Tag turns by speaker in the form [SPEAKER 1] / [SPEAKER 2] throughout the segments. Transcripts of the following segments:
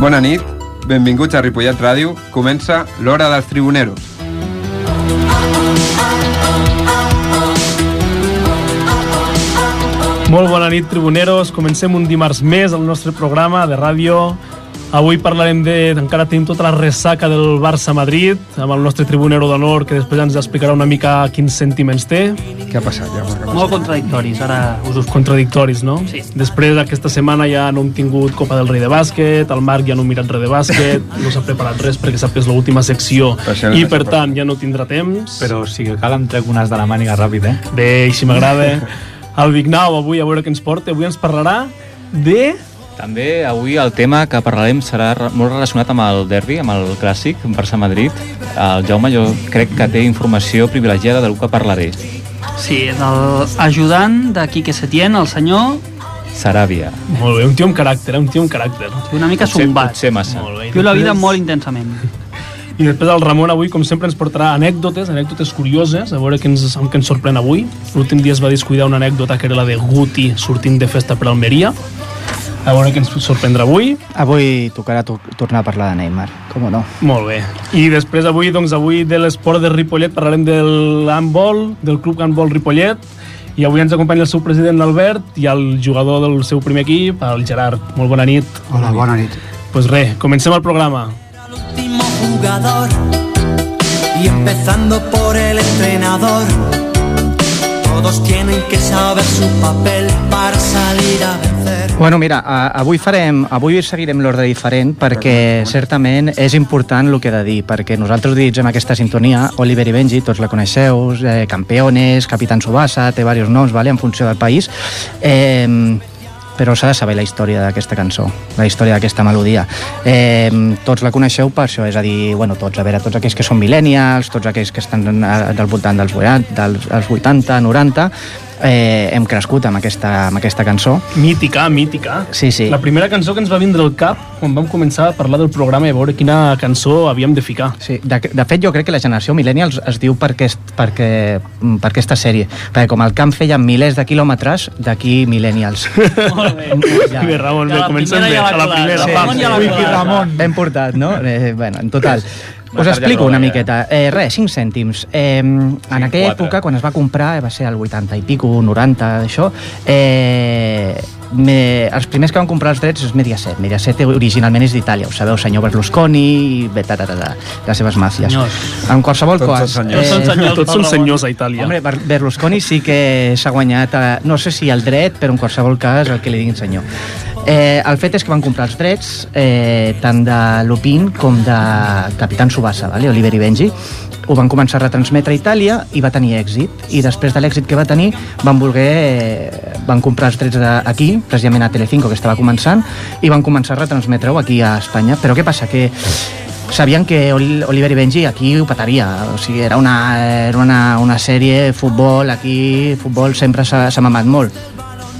[SPEAKER 1] Bona nit, benvinguts a Ripollet Ràdio. Comença l'Hora dels Tribuneros.
[SPEAKER 2] Molt bona nit, tribuneros. Comencem un dimarts més al nostre programa de ràdio. Avui parlarem de... Encara tenim tota la ressaca del Barça-Madrid, amb el nostre tribunero d'honor, que després ens explicarà una mica quins sentiments té.
[SPEAKER 1] Què ha passat, Jaume?
[SPEAKER 3] Molt contradictoris, ara us ho...
[SPEAKER 2] Contradictoris, no?
[SPEAKER 3] Sí.
[SPEAKER 2] Després, aquesta setmana ja no hem tingut Copa del Rei de Bàsquet, el Marc ja no ha mirat res de bàsquet, no s'ha preparat res perquè sap que és l'última secció
[SPEAKER 1] Per això no
[SPEAKER 2] i,
[SPEAKER 1] s'ha
[SPEAKER 2] per
[SPEAKER 1] preparat.
[SPEAKER 2] tant, ja no tindrà temps.
[SPEAKER 4] Però sí que cal em trec unes de la màniga ràpid, eh?
[SPEAKER 2] Bé, així m'agrada. El Vignau, avui, a veure què ens porta. Avui ens parlarà de...
[SPEAKER 5] També avui el tema que parlarem serà re- molt relacionat amb el derbi, amb el clàssic Barça-Madrid. El Jaume jo crec que té informació privilegiada del que parlaré.
[SPEAKER 3] Sí, del ajudant de Quique Setién, el senyor,
[SPEAKER 5] Saràbia.
[SPEAKER 2] Molt bé, un tio amb caràcter, eh? un tio amb caràcter.
[SPEAKER 3] una mica
[SPEAKER 5] Potser-
[SPEAKER 3] sombat.
[SPEAKER 5] Potser massa.
[SPEAKER 2] Molt bé. I
[SPEAKER 3] Viu la vida
[SPEAKER 2] després-
[SPEAKER 3] molt intensament.
[SPEAKER 2] I després el Ramon avui, com sempre, ens portarà anècdotes, anècdotes curioses, a veure què ens, amb què ens sorprèn avui. L'últim dia es va descuidar una anècdota que era la de Guti sortint de festa per Almeria. A veure què ens sorprendrà avui.
[SPEAKER 6] Avui tocarà to tornar a parlar de Neymar, com no?
[SPEAKER 2] Molt bé. I després avui, doncs avui de l'esport de Ripollet parlarem del handball, del club handball Ripollet. I avui ens acompanya el seu president, l'Albert, i el jugador del seu primer equip, el Gerard. Molt bona nit.
[SPEAKER 7] Hola, bona nit.
[SPEAKER 2] Doncs pues res, comencem el programa.
[SPEAKER 8] al último jugador y empezando por el entrenador. Todos tienen que saber su papel para salir a vencer.
[SPEAKER 6] Bueno, mira, a- avui farem, avui seguirem l'ordre diferent perquè certament és important el que he de dir, perquè nosaltres utilitzem aquesta sintonia, Oliver i Benji, tots la coneixeu, eh, Campeones, Capitán Subasa, té diversos noms, vale, en funció del país, eh, però s'ha de saber la història d'aquesta cançó, la història d'aquesta melodia. Eh, tots la coneixeu per això, és a dir, bueno, tots, a veure, tots aquells que són millennials, tots aquells que estan eh, del voltant dels 80, dels, dels 80 90, eh, hem crescut amb aquesta, amb aquesta cançó.
[SPEAKER 2] Mítica, mítica.
[SPEAKER 6] Sí, sí.
[SPEAKER 2] La primera cançó que ens va vindre al cap quan vam començar a parlar del programa i a veure quina cançó havíem de ficar.
[SPEAKER 6] Sí, de, de fet jo crec que la generació millennials es diu per, aquest, perquè, mm, per aquesta sèrie perquè com el camp feia milers de quilòmetres d'aquí millennials
[SPEAKER 3] Molt bé.
[SPEAKER 2] Ja. Bé, Eh, Ramon,
[SPEAKER 3] Ja
[SPEAKER 2] bé,
[SPEAKER 3] la
[SPEAKER 2] comencem bé.
[SPEAKER 3] primera ja
[SPEAKER 2] A la
[SPEAKER 3] l'ha
[SPEAKER 2] primera,
[SPEAKER 3] clavat.
[SPEAKER 2] sí,
[SPEAKER 3] Sí,
[SPEAKER 2] va.
[SPEAKER 3] Ramon ja l'ha
[SPEAKER 2] Wiki
[SPEAKER 3] clavat.
[SPEAKER 2] Ramon.
[SPEAKER 6] ben portat, no? Eh, bueno, en total
[SPEAKER 4] Una
[SPEAKER 6] us
[SPEAKER 4] tarda
[SPEAKER 6] explico
[SPEAKER 4] groga,
[SPEAKER 6] una
[SPEAKER 4] ja.
[SPEAKER 6] miqueta eh, res, 5 cèntims eh, en aquella
[SPEAKER 4] quatre.
[SPEAKER 6] època quan es va comprar eh, va ser el 80 i pico, 90 això eh, me, els primers que van comprar els drets és Mediaset Mediaset originalment és d'Itàlia, ho sabeu senyor Berlusconi i bé, ta, ta, ta, ta, les seves màfies
[SPEAKER 3] Senyors.
[SPEAKER 6] en qualsevol
[SPEAKER 1] Tots
[SPEAKER 6] cas eh,
[SPEAKER 1] els senyors.
[SPEAKER 3] Tots els senyors.
[SPEAKER 2] Tots són senyors a Itàlia.
[SPEAKER 6] Hombre, Ber- Berlusconi sí que s'ha guanyat, eh, no sé si el dret, però en qualsevol cas el que li diguin senyor. Eh, el fet és que van comprar els drets eh, tant de Lupin com de Capitán Subasa, vale? Oliver i Benji. Ho van començar a retransmetre a Itàlia i va tenir èxit. I després de l'èxit que va tenir van voler... Eh, van comprar els drets de- aquí, precisament a Telecinco, que estava començant, i van començar a retransmetre-ho aquí a Espanya. Però què passa? Que sabien que Ol- Oliver i Benji aquí ho petaria, o sigui, era una, era una, una sèrie, futbol, aquí, futbol sempre s'ha s'ha mamat molt.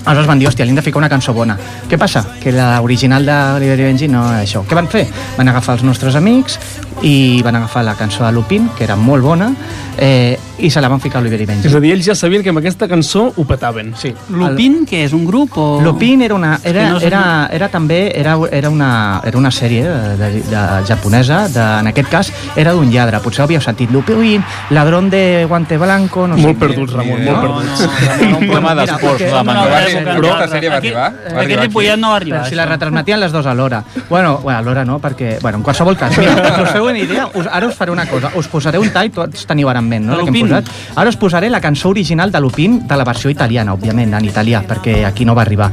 [SPEAKER 6] Aleshores van dir, hòstia, li hem de ficar una cançó bona. Què passa? Que l'original d'Oliver i Benji no era això. Què van fer? Van agafar els nostres amics i van agafar la cançó de Lupin, que era molt bona, eh, i se la van ficar a Oliver i Benji.
[SPEAKER 2] És a dir, ells ja sabien que amb aquesta cançó ho petaven.
[SPEAKER 6] Sí.
[SPEAKER 3] Lupin, que és un grup o...
[SPEAKER 6] Lupin era una era,
[SPEAKER 3] Que no és
[SPEAKER 6] era, era també era, era, una, era una sèrie de, de, de japonesa, de, en aquest cas era d'un lladre, potser havíeu sentit Lupin, ladrón de guante blanco no
[SPEAKER 2] Molt
[SPEAKER 6] sé,
[SPEAKER 2] perduts, Ramon,
[SPEAKER 1] Ni
[SPEAKER 2] molt
[SPEAKER 1] idea.
[SPEAKER 3] No,
[SPEAKER 2] perduts.
[SPEAKER 3] no, no,
[SPEAKER 5] Un tema d'esports,
[SPEAKER 6] Mira, perquè-
[SPEAKER 3] no,
[SPEAKER 5] la
[SPEAKER 3] no,
[SPEAKER 5] manga.
[SPEAKER 3] no, no,
[SPEAKER 1] Però
[SPEAKER 3] no,
[SPEAKER 1] aquesta
[SPEAKER 3] no,
[SPEAKER 1] sèrie va
[SPEAKER 3] aquí-
[SPEAKER 1] arribar, va arribar
[SPEAKER 3] Aquest
[SPEAKER 1] aquí.
[SPEAKER 3] Ripollet no va
[SPEAKER 6] Però
[SPEAKER 3] arribar.
[SPEAKER 6] si la
[SPEAKER 3] això.
[SPEAKER 6] retransmetien les dues alhora. Bueno, bueno alhora no, perquè... Bueno, en qualsevol cas, mira, perquè us feu una idea, us, ara us faré una cosa. Us posaré un tall, tots teniu ara en ment, no? la
[SPEAKER 3] De
[SPEAKER 6] que hem
[SPEAKER 3] Lupin.
[SPEAKER 6] posat. Ara us posaré la cançó original de Lupin, de la versió italiana, òbviament, en italià, perquè aquí no va arribar.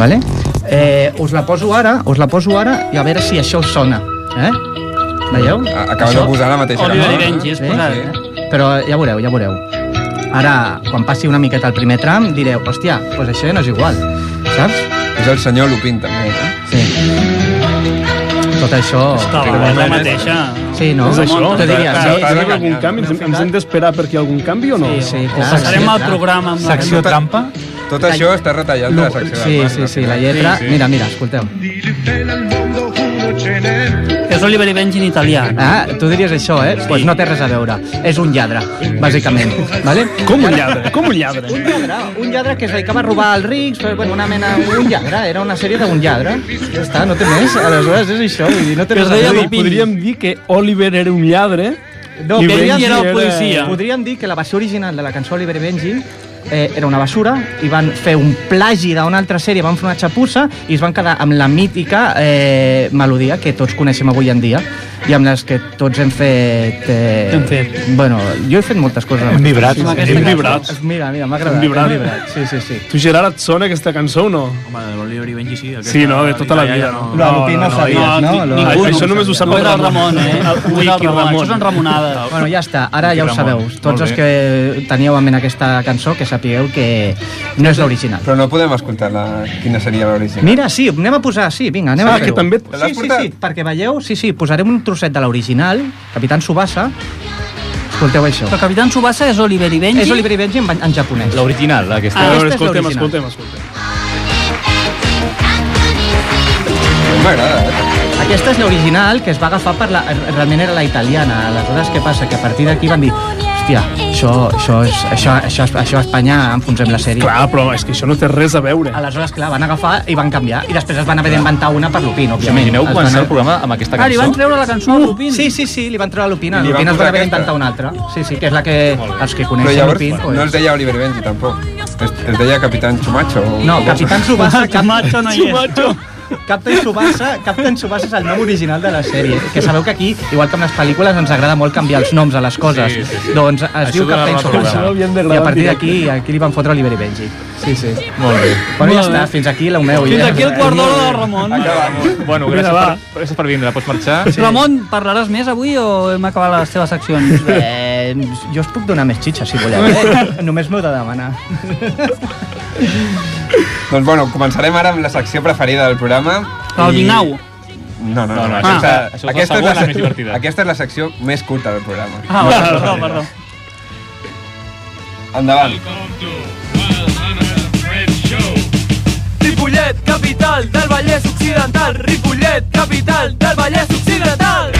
[SPEAKER 6] Vale? Eh, us la poso ara, us la poso ara, i a veure si això us sona. Eh? Veieu?
[SPEAKER 1] A- Acabes Ah, de posar la mateixa
[SPEAKER 3] Oliver i
[SPEAKER 1] cançó, Ah,
[SPEAKER 3] Benji, és
[SPEAKER 6] Sí,
[SPEAKER 3] posat.
[SPEAKER 1] sí.
[SPEAKER 3] eh?
[SPEAKER 6] Però ja veureu, ja veureu. Ara, quan passi una miqueta el primer tram, direu, hòstia, doncs això ja no és igual, saps?
[SPEAKER 1] És el senyor Lupin, també.
[SPEAKER 6] Sí. Tot això...
[SPEAKER 3] Està bé, és la mateixa.
[SPEAKER 6] Sí, no?
[SPEAKER 2] Ah, És això?
[SPEAKER 6] Te diria,
[SPEAKER 2] Ah,
[SPEAKER 6] sí,
[SPEAKER 2] hi ha
[SPEAKER 1] sí,
[SPEAKER 2] algun
[SPEAKER 1] sí.
[SPEAKER 2] canvi? Ens, ens hem d'esperar perquè hi ha algun canvi o no?
[SPEAKER 6] sí,
[SPEAKER 3] Passarem al programa amb la
[SPEAKER 4] Secció trampa?
[SPEAKER 1] Ah. Tot això està retallat de la secció
[SPEAKER 6] Sí,
[SPEAKER 1] del Marc,
[SPEAKER 6] sí,
[SPEAKER 1] al
[SPEAKER 6] sí,
[SPEAKER 1] final.
[SPEAKER 6] la lletra...
[SPEAKER 1] Sí, sí.
[SPEAKER 6] Mira, mira, escolteu.
[SPEAKER 3] És Oliver i Benji en italià.
[SPEAKER 6] Ah, tu diries això, eh? Doncs pues no té res a veure. És un lladre, bàsicament. Vale?
[SPEAKER 2] Com un lladre, com un lladre.
[SPEAKER 6] Un lladre, un lladre que es dedicava a robar als rics, però, bueno, una mena... Un lladre, era una sèrie d'un lladre. Ja està, no té més. Aleshores és això, vull dir, no té
[SPEAKER 2] Es
[SPEAKER 6] res a
[SPEAKER 2] deia
[SPEAKER 6] veure.
[SPEAKER 2] dir, podríem dir que Eh, Oliver era un lladre
[SPEAKER 6] No,
[SPEAKER 2] i
[SPEAKER 6] que ell
[SPEAKER 2] Benji
[SPEAKER 6] era
[SPEAKER 2] era...
[SPEAKER 6] el
[SPEAKER 2] policia.
[SPEAKER 6] Podríem dir que la versió original de la cançó Oliver i Benji eh, era una basura i van fer un plagi d'una altra sèrie, van fer una xapussa i es van quedar amb la mítica eh, melodia que tots coneixem avui en dia i amb les que tots hem fet... Eh,
[SPEAKER 2] Hem fet.
[SPEAKER 6] Bueno, jo he fet moltes coses.
[SPEAKER 4] Hem vibrat.
[SPEAKER 6] Amb
[SPEAKER 2] Hem
[SPEAKER 6] aquesta
[SPEAKER 2] vibrat.
[SPEAKER 6] cançó. Mira, mira, m'ha agradat.
[SPEAKER 2] Hem vibrat.
[SPEAKER 6] Hem vibrat. Sí, sí, sí.
[SPEAKER 2] Tu, Gerard, et sona aquesta cançó o no?
[SPEAKER 7] Home, de l'Oliver i Benji sí. Aquesta,
[SPEAKER 2] Sí, no? De tota la vida, no?
[SPEAKER 6] No, no, no, sabies, no?
[SPEAKER 7] ni-
[SPEAKER 6] Lo-
[SPEAKER 7] ningú.
[SPEAKER 2] Això només ho sap
[SPEAKER 3] No era el Ramon, eh? No era el Ramon, això són Ramonades.
[SPEAKER 6] Bueno, ja està, ara ja ho
[SPEAKER 4] Ramon,
[SPEAKER 6] sabeu.
[SPEAKER 4] molt
[SPEAKER 6] Tots els que teníeu en ment aquesta cançó, que sapigueu que no és l'original.
[SPEAKER 1] Però no podem escoltar la... quina seria l'original.
[SPEAKER 6] Mira, sí, anem a posar, sí, vinga, anem
[SPEAKER 2] Ah,
[SPEAKER 6] a fer-ho.
[SPEAKER 2] que també-
[SPEAKER 1] L'has
[SPEAKER 6] Sí, sí,
[SPEAKER 1] portat?
[SPEAKER 6] sí, perquè veieu, sí, sí, posarem un trosset de l'original, Capitán Subasa. Escolteu això.
[SPEAKER 3] El Capitán Subasa és Oliver i Benji. Ah,
[SPEAKER 6] És Oliver i Benji en, en japonès.
[SPEAKER 5] L'original, aquesta.
[SPEAKER 2] A
[SPEAKER 6] Aquesta
[SPEAKER 2] veure,
[SPEAKER 6] és
[SPEAKER 2] escoltem,
[SPEAKER 6] l'original.
[SPEAKER 2] escoltem, escoltem.
[SPEAKER 1] M'agrada, eh?
[SPEAKER 6] Aquesta és l'original que es va agafar per la... Realment era la italiana. Aleshores, què passa? Que a partir d'aquí van dir hòstia, això, això, és, això, això, això a Espanya enfonsem la sèrie.
[SPEAKER 2] Clar, però és que això no té res a veure.
[SPEAKER 6] Aleshores, clar, van agafar i van canviar i després es van haver d'inventar una per Lupin,
[SPEAKER 5] Us
[SPEAKER 6] òbviament.
[SPEAKER 5] imagineu
[SPEAKER 6] Es
[SPEAKER 5] començar
[SPEAKER 6] van- Uh,
[SPEAKER 5] el programa amb aquesta
[SPEAKER 3] Ah, li van
[SPEAKER 5] cançó?
[SPEAKER 3] treure la cançó a Lupin.
[SPEAKER 6] Sí, sí, sí, li van treure a Lupin. A
[SPEAKER 1] I li van
[SPEAKER 6] Lupin es
[SPEAKER 1] posar
[SPEAKER 6] van haver
[SPEAKER 1] aquesta.
[SPEAKER 6] d'inventar una altra. Sí, sí, que és la que els que
[SPEAKER 1] Però
[SPEAKER 6] coneixen
[SPEAKER 1] llavors
[SPEAKER 6] Lupin...
[SPEAKER 1] no es deia Oliver Benji, tampoc. Es, es deia Capitán Chumacho. o-
[SPEAKER 6] No,
[SPEAKER 1] o-
[SPEAKER 6] Capitán Subasa... Cap...
[SPEAKER 3] Camacho no hi és.
[SPEAKER 6] Captain Subasa, Captain Subasa és el nom original de la sèrie. Que sabeu que aquí, igual que amb les pel·lícules, ens agrada molt canviar els noms a les coses. Sí, sí, sí. Doncs es diu
[SPEAKER 5] donava
[SPEAKER 6] Captain
[SPEAKER 5] el programa.
[SPEAKER 2] Això ho havien
[SPEAKER 6] Subasa.
[SPEAKER 2] de
[SPEAKER 6] I a
[SPEAKER 2] gravar en
[SPEAKER 6] partir
[SPEAKER 2] directe.
[SPEAKER 6] d'aquí, aquí li van fotre Oliver i Benji. Sí, sí.
[SPEAKER 5] Molt bé.
[SPEAKER 6] Bueno, ja està, fins aquí l'Eumeu.
[SPEAKER 3] Fins
[SPEAKER 6] ja.
[SPEAKER 3] aquí el quart
[SPEAKER 6] eh,
[SPEAKER 3] d'hora del Ramon.
[SPEAKER 5] Bueno,
[SPEAKER 2] Mira,
[SPEAKER 5] gràcies,
[SPEAKER 2] va.
[SPEAKER 5] per, gràcies per vindre. Pots marxar?
[SPEAKER 3] Ramon, parlaràs més avui o hem acabat les teves seccions?
[SPEAKER 6] Eh, jo us puc donar més xitxa, si voleu. Eh? Només m'ho heu de demanar.
[SPEAKER 1] Doncs bueno, començarem ara amb la secció preferida del programa.
[SPEAKER 3] El
[SPEAKER 1] i-
[SPEAKER 3] Vignau.
[SPEAKER 1] No, no, no.
[SPEAKER 5] No, no,
[SPEAKER 1] no,
[SPEAKER 5] això
[SPEAKER 3] Ah.
[SPEAKER 1] aquesta-
[SPEAKER 5] és la- això és la
[SPEAKER 1] aquesta
[SPEAKER 5] segona
[SPEAKER 1] sec-
[SPEAKER 5] més divertida.
[SPEAKER 1] Aquesta és la secció més curta del programa.
[SPEAKER 3] Ah, perdó, perdó.
[SPEAKER 1] Endavant.
[SPEAKER 9] Ripollet, capital del Vallès Occidental. Ripollet, capital del Vallès Occidental.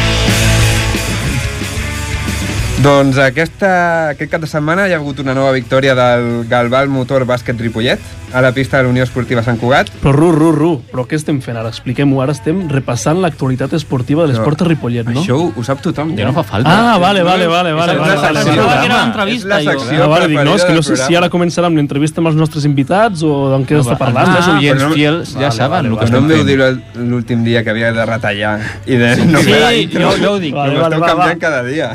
[SPEAKER 1] Doncs aquesta, aquest cap de setmana hi ha hagut una nova victòria del Galval Motor Bàsquet Ripollet a la pista de la Unió Esportiva Sant Cugat.
[SPEAKER 2] Però ru, ru, ru, però què estem fent ara? Expliquem-ho, ara estem repassant l'actualitat esportiva de l'esport de Ripollet, no?
[SPEAKER 1] Això ho, ho sap tothom, eh?
[SPEAKER 5] Ja no fa falta.
[SPEAKER 2] Ah, vale, vale, vale, vale,
[SPEAKER 1] És
[SPEAKER 2] vale,
[SPEAKER 1] una
[SPEAKER 2] vale,
[SPEAKER 1] secció.
[SPEAKER 2] vale.
[SPEAKER 3] Pensava que era una
[SPEAKER 1] És la
[SPEAKER 3] entrevista, jo.
[SPEAKER 1] secció
[SPEAKER 2] Ah, vale, dic,
[SPEAKER 1] preferida
[SPEAKER 2] no, és que no sé
[SPEAKER 1] del
[SPEAKER 2] si ara començarà amb l'entrevista amb els nostres invitats o d'on què està parlant.
[SPEAKER 5] Els
[SPEAKER 2] Ah,
[SPEAKER 5] oients
[SPEAKER 1] però no-
[SPEAKER 5] fiels ja saben el que
[SPEAKER 1] Pues no
[SPEAKER 5] estem
[SPEAKER 1] em vau
[SPEAKER 5] fent.
[SPEAKER 1] dir l'últim dia que havia de retallar i de no fer la
[SPEAKER 3] Sí,
[SPEAKER 1] intro.
[SPEAKER 3] jo, jo ho dic.
[SPEAKER 2] Vale,
[SPEAKER 1] M'ho
[SPEAKER 2] vale,
[SPEAKER 1] esteu
[SPEAKER 2] va, va.
[SPEAKER 1] canviant cada dia.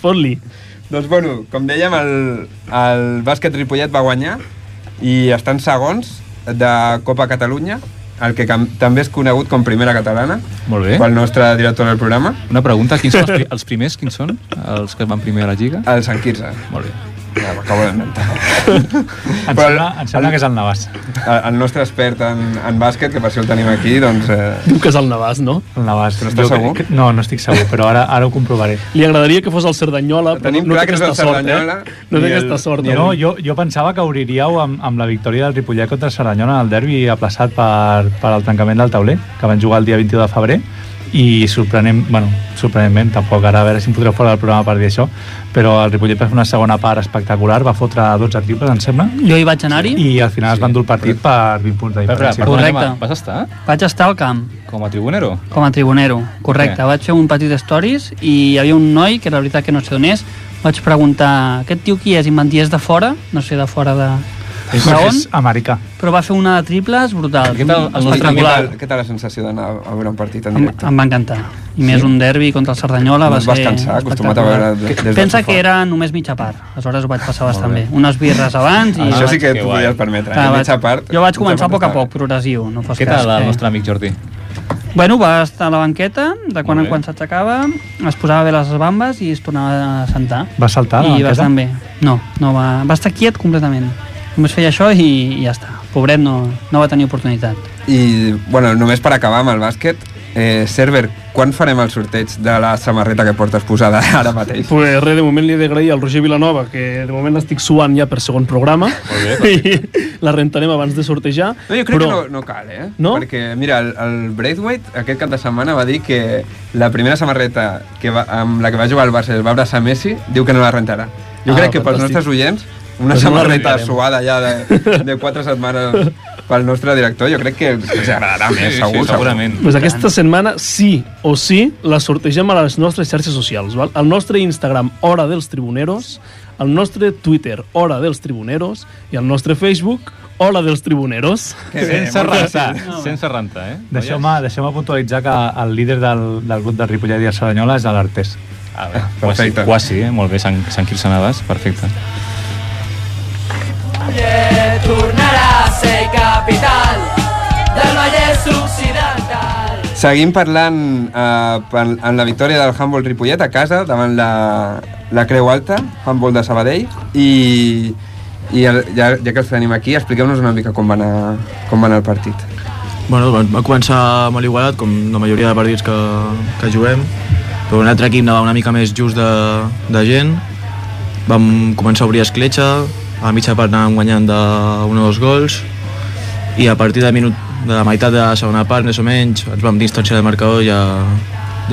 [SPEAKER 2] Fot-li.
[SPEAKER 1] doncs bueno, com dèiem, el, el bàsquet Ripollet va guanyar i estan segons de Copa Catalunya, el que cam- també és conegut com Primera Catalana,
[SPEAKER 5] Molt bé.
[SPEAKER 1] pel nostre director del programa,
[SPEAKER 5] Una pregunta, quins són els, pri els primers? Quins són? Els que van primer a la Lliga?
[SPEAKER 1] el Sant Quirze.
[SPEAKER 5] Molt bé.
[SPEAKER 1] Ja, M'acabo d'inventar.
[SPEAKER 4] Em
[SPEAKER 1] Però-
[SPEAKER 4] sembla, em sembla que és el Navàs.
[SPEAKER 1] El, el nostre expert en, en bàsquet, que per això el tenim aquí, doncs... Eh,
[SPEAKER 2] Diu que és el Navàs, no?
[SPEAKER 4] El Navàs.
[SPEAKER 1] Però
[SPEAKER 4] Jo
[SPEAKER 1] estàs
[SPEAKER 4] crec
[SPEAKER 1] segur?
[SPEAKER 4] que- No, no estic segur, però ara, ara ho comprovaré.
[SPEAKER 2] Li agradaria que fos el Cerdanyola, però
[SPEAKER 1] Tenim
[SPEAKER 2] no
[SPEAKER 1] clar
[SPEAKER 2] té
[SPEAKER 1] que és el
[SPEAKER 2] aquesta sort,
[SPEAKER 1] Cerdanyola,
[SPEAKER 2] eh? No
[SPEAKER 1] ni
[SPEAKER 2] té
[SPEAKER 1] el-
[SPEAKER 2] aquesta sort.
[SPEAKER 1] ni el-
[SPEAKER 4] No, jo, jo pensava que obriríeu amb, amb la victòria del Ripollet contra el Serranyola en el derbi aplaçat per, per el tancament del tauler, que van jugar el dia 22 de febrer, i sorprenent, bueno, sorprenentment, tampoc ara a veure si em fotreu fora del programa per dir això, però el Ripollet va fer una segona part espectacular, va fotre 12 triples, em sembla,
[SPEAKER 3] Jo hi vaig anar-hi,
[SPEAKER 4] i al final es van dur el partit per 20 punts de
[SPEAKER 5] Espera,
[SPEAKER 4] diferència.
[SPEAKER 5] espera,
[SPEAKER 3] Correcte.
[SPEAKER 5] perdona, Vas estar
[SPEAKER 3] vaig estar al camp
[SPEAKER 5] com a tribunero?
[SPEAKER 3] com a tribunero, correcte.
[SPEAKER 5] Què?
[SPEAKER 3] Vaig fer un petit stories i hi havia un noi que la veritat que no sé on és, vaig preguntar aquest tio qui és i m'han dit és de fora, no sé de fora de...
[SPEAKER 4] És,
[SPEAKER 3] de on,
[SPEAKER 4] és americà.
[SPEAKER 3] però va fer una de triples brutal,
[SPEAKER 5] Què tal el nostre
[SPEAKER 1] què,
[SPEAKER 3] espectacular.
[SPEAKER 1] tal, què tal la sensació d'anar a veure un partit en
[SPEAKER 3] Em,
[SPEAKER 1] directe?
[SPEAKER 3] em va encantar. I més un derbi contra el Cerdanyola
[SPEAKER 1] No
[SPEAKER 3] va
[SPEAKER 1] et
[SPEAKER 3] ser...
[SPEAKER 1] vas cansar, acostumat a
[SPEAKER 3] espectacular.
[SPEAKER 1] veure des del
[SPEAKER 3] Pensa
[SPEAKER 1] sofà.
[SPEAKER 3] que era només mitja part, aleshores ho vaig passar bastant bé. Unes birres abans i...
[SPEAKER 1] Això sí que
[SPEAKER 5] Ah, Que
[SPEAKER 1] t'ho
[SPEAKER 5] guai.
[SPEAKER 1] podies permetre.
[SPEAKER 3] Clar,
[SPEAKER 1] eh?
[SPEAKER 3] vaig,
[SPEAKER 1] Mitja part,
[SPEAKER 3] jo vaig començar a
[SPEAKER 1] mitja
[SPEAKER 3] poc a
[SPEAKER 1] part
[SPEAKER 3] poc, progressiu, no fos
[SPEAKER 5] Què
[SPEAKER 3] cas. eh?
[SPEAKER 5] tal el
[SPEAKER 3] que-
[SPEAKER 5] nostre amic Jordi?
[SPEAKER 3] Bueno, va estar a la banqueta, de quan
[SPEAKER 5] Molt
[SPEAKER 3] en
[SPEAKER 5] bé.
[SPEAKER 3] quan s'aixecava, es posava bé les bambes i es tornava a sentar.
[SPEAKER 4] Va saltar a la
[SPEAKER 3] I
[SPEAKER 4] banqueta?
[SPEAKER 3] bastant bé. No, no va, va estar quiet completament. Només feia això i, i ja està. Pobret no, no va tenir oportunitat.
[SPEAKER 1] I, bueno, només per acabar amb el bàsquet, Eh, Server, quan farem el sorteig de la samarreta que portes posada ara mateix?
[SPEAKER 2] Pues res, de moment li he d'agrair al Roger Vilanova, que de moment estic suant ja per segon programa, i la rentarem abans de sortejar.
[SPEAKER 1] No, jo crec
[SPEAKER 2] però...
[SPEAKER 1] que no, no cal, eh?
[SPEAKER 2] No?
[SPEAKER 1] Perquè, mira, el, el Braithwaite aquest cap de setmana va dir que la primera samarreta que va, amb la que va jugar al Barça i es va abraçar Messi, diu que no la rentarà. Jo
[SPEAKER 2] Ah,
[SPEAKER 1] crec que pels
[SPEAKER 2] fantàstic.
[SPEAKER 1] nostres oients, una
[SPEAKER 2] Doncs no la
[SPEAKER 1] samarreta
[SPEAKER 2] rentarem.
[SPEAKER 1] suada ja de, de quatre setmanes pel nostre director, jo crec que els els agradarà més,
[SPEAKER 5] sí,
[SPEAKER 1] segur,
[SPEAKER 5] segurament.
[SPEAKER 2] Pues aquesta setmana sí o sí la sortegem a les nostres xarxes socials, val? al nostre Instagram Hora dels Tribuneros, al nostre Twitter Hora dels Tribuneros i al nostre Facebook Hora dels Tribuneros.
[SPEAKER 1] Que bé,
[SPEAKER 5] Sense
[SPEAKER 1] molt
[SPEAKER 5] rentar,
[SPEAKER 1] fàcil.
[SPEAKER 5] sense rentar, eh?
[SPEAKER 4] Deixeu-me deixeu puntualitzar que el líder del, del grup del Ripollet i el Saranyola és l'Artés.
[SPEAKER 5] A veure, quasi,
[SPEAKER 1] Perfecte.
[SPEAKER 5] quasi, eh? Molt bé, Sant, Sant Quirze Navas, perfecte.
[SPEAKER 9] Ripollet tornarà a ser capital del Vallès Occidental.
[SPEAKER 1] Seguim parlant eh, per, en la victòria del handball Ripollet a casa davant la, la Creu Alta, handball de Sabadell i, i el, ja, ja que els tenim aquí, expliqueu-nos una mica com va, anar, com va anar el partit.
[SPEAKER 7] Bueno, doncs va començar molt igualat, com la majoria de partits que, que juguem, però un altre equip anava una mica més just de, de gent, vam començar a obrir escletxa, a mitja part anàvem guanyant d'un o dos gols, i a partir de, minut, de la meitat de la segona part, més o menys, ens vam distanciar de marcador i ja,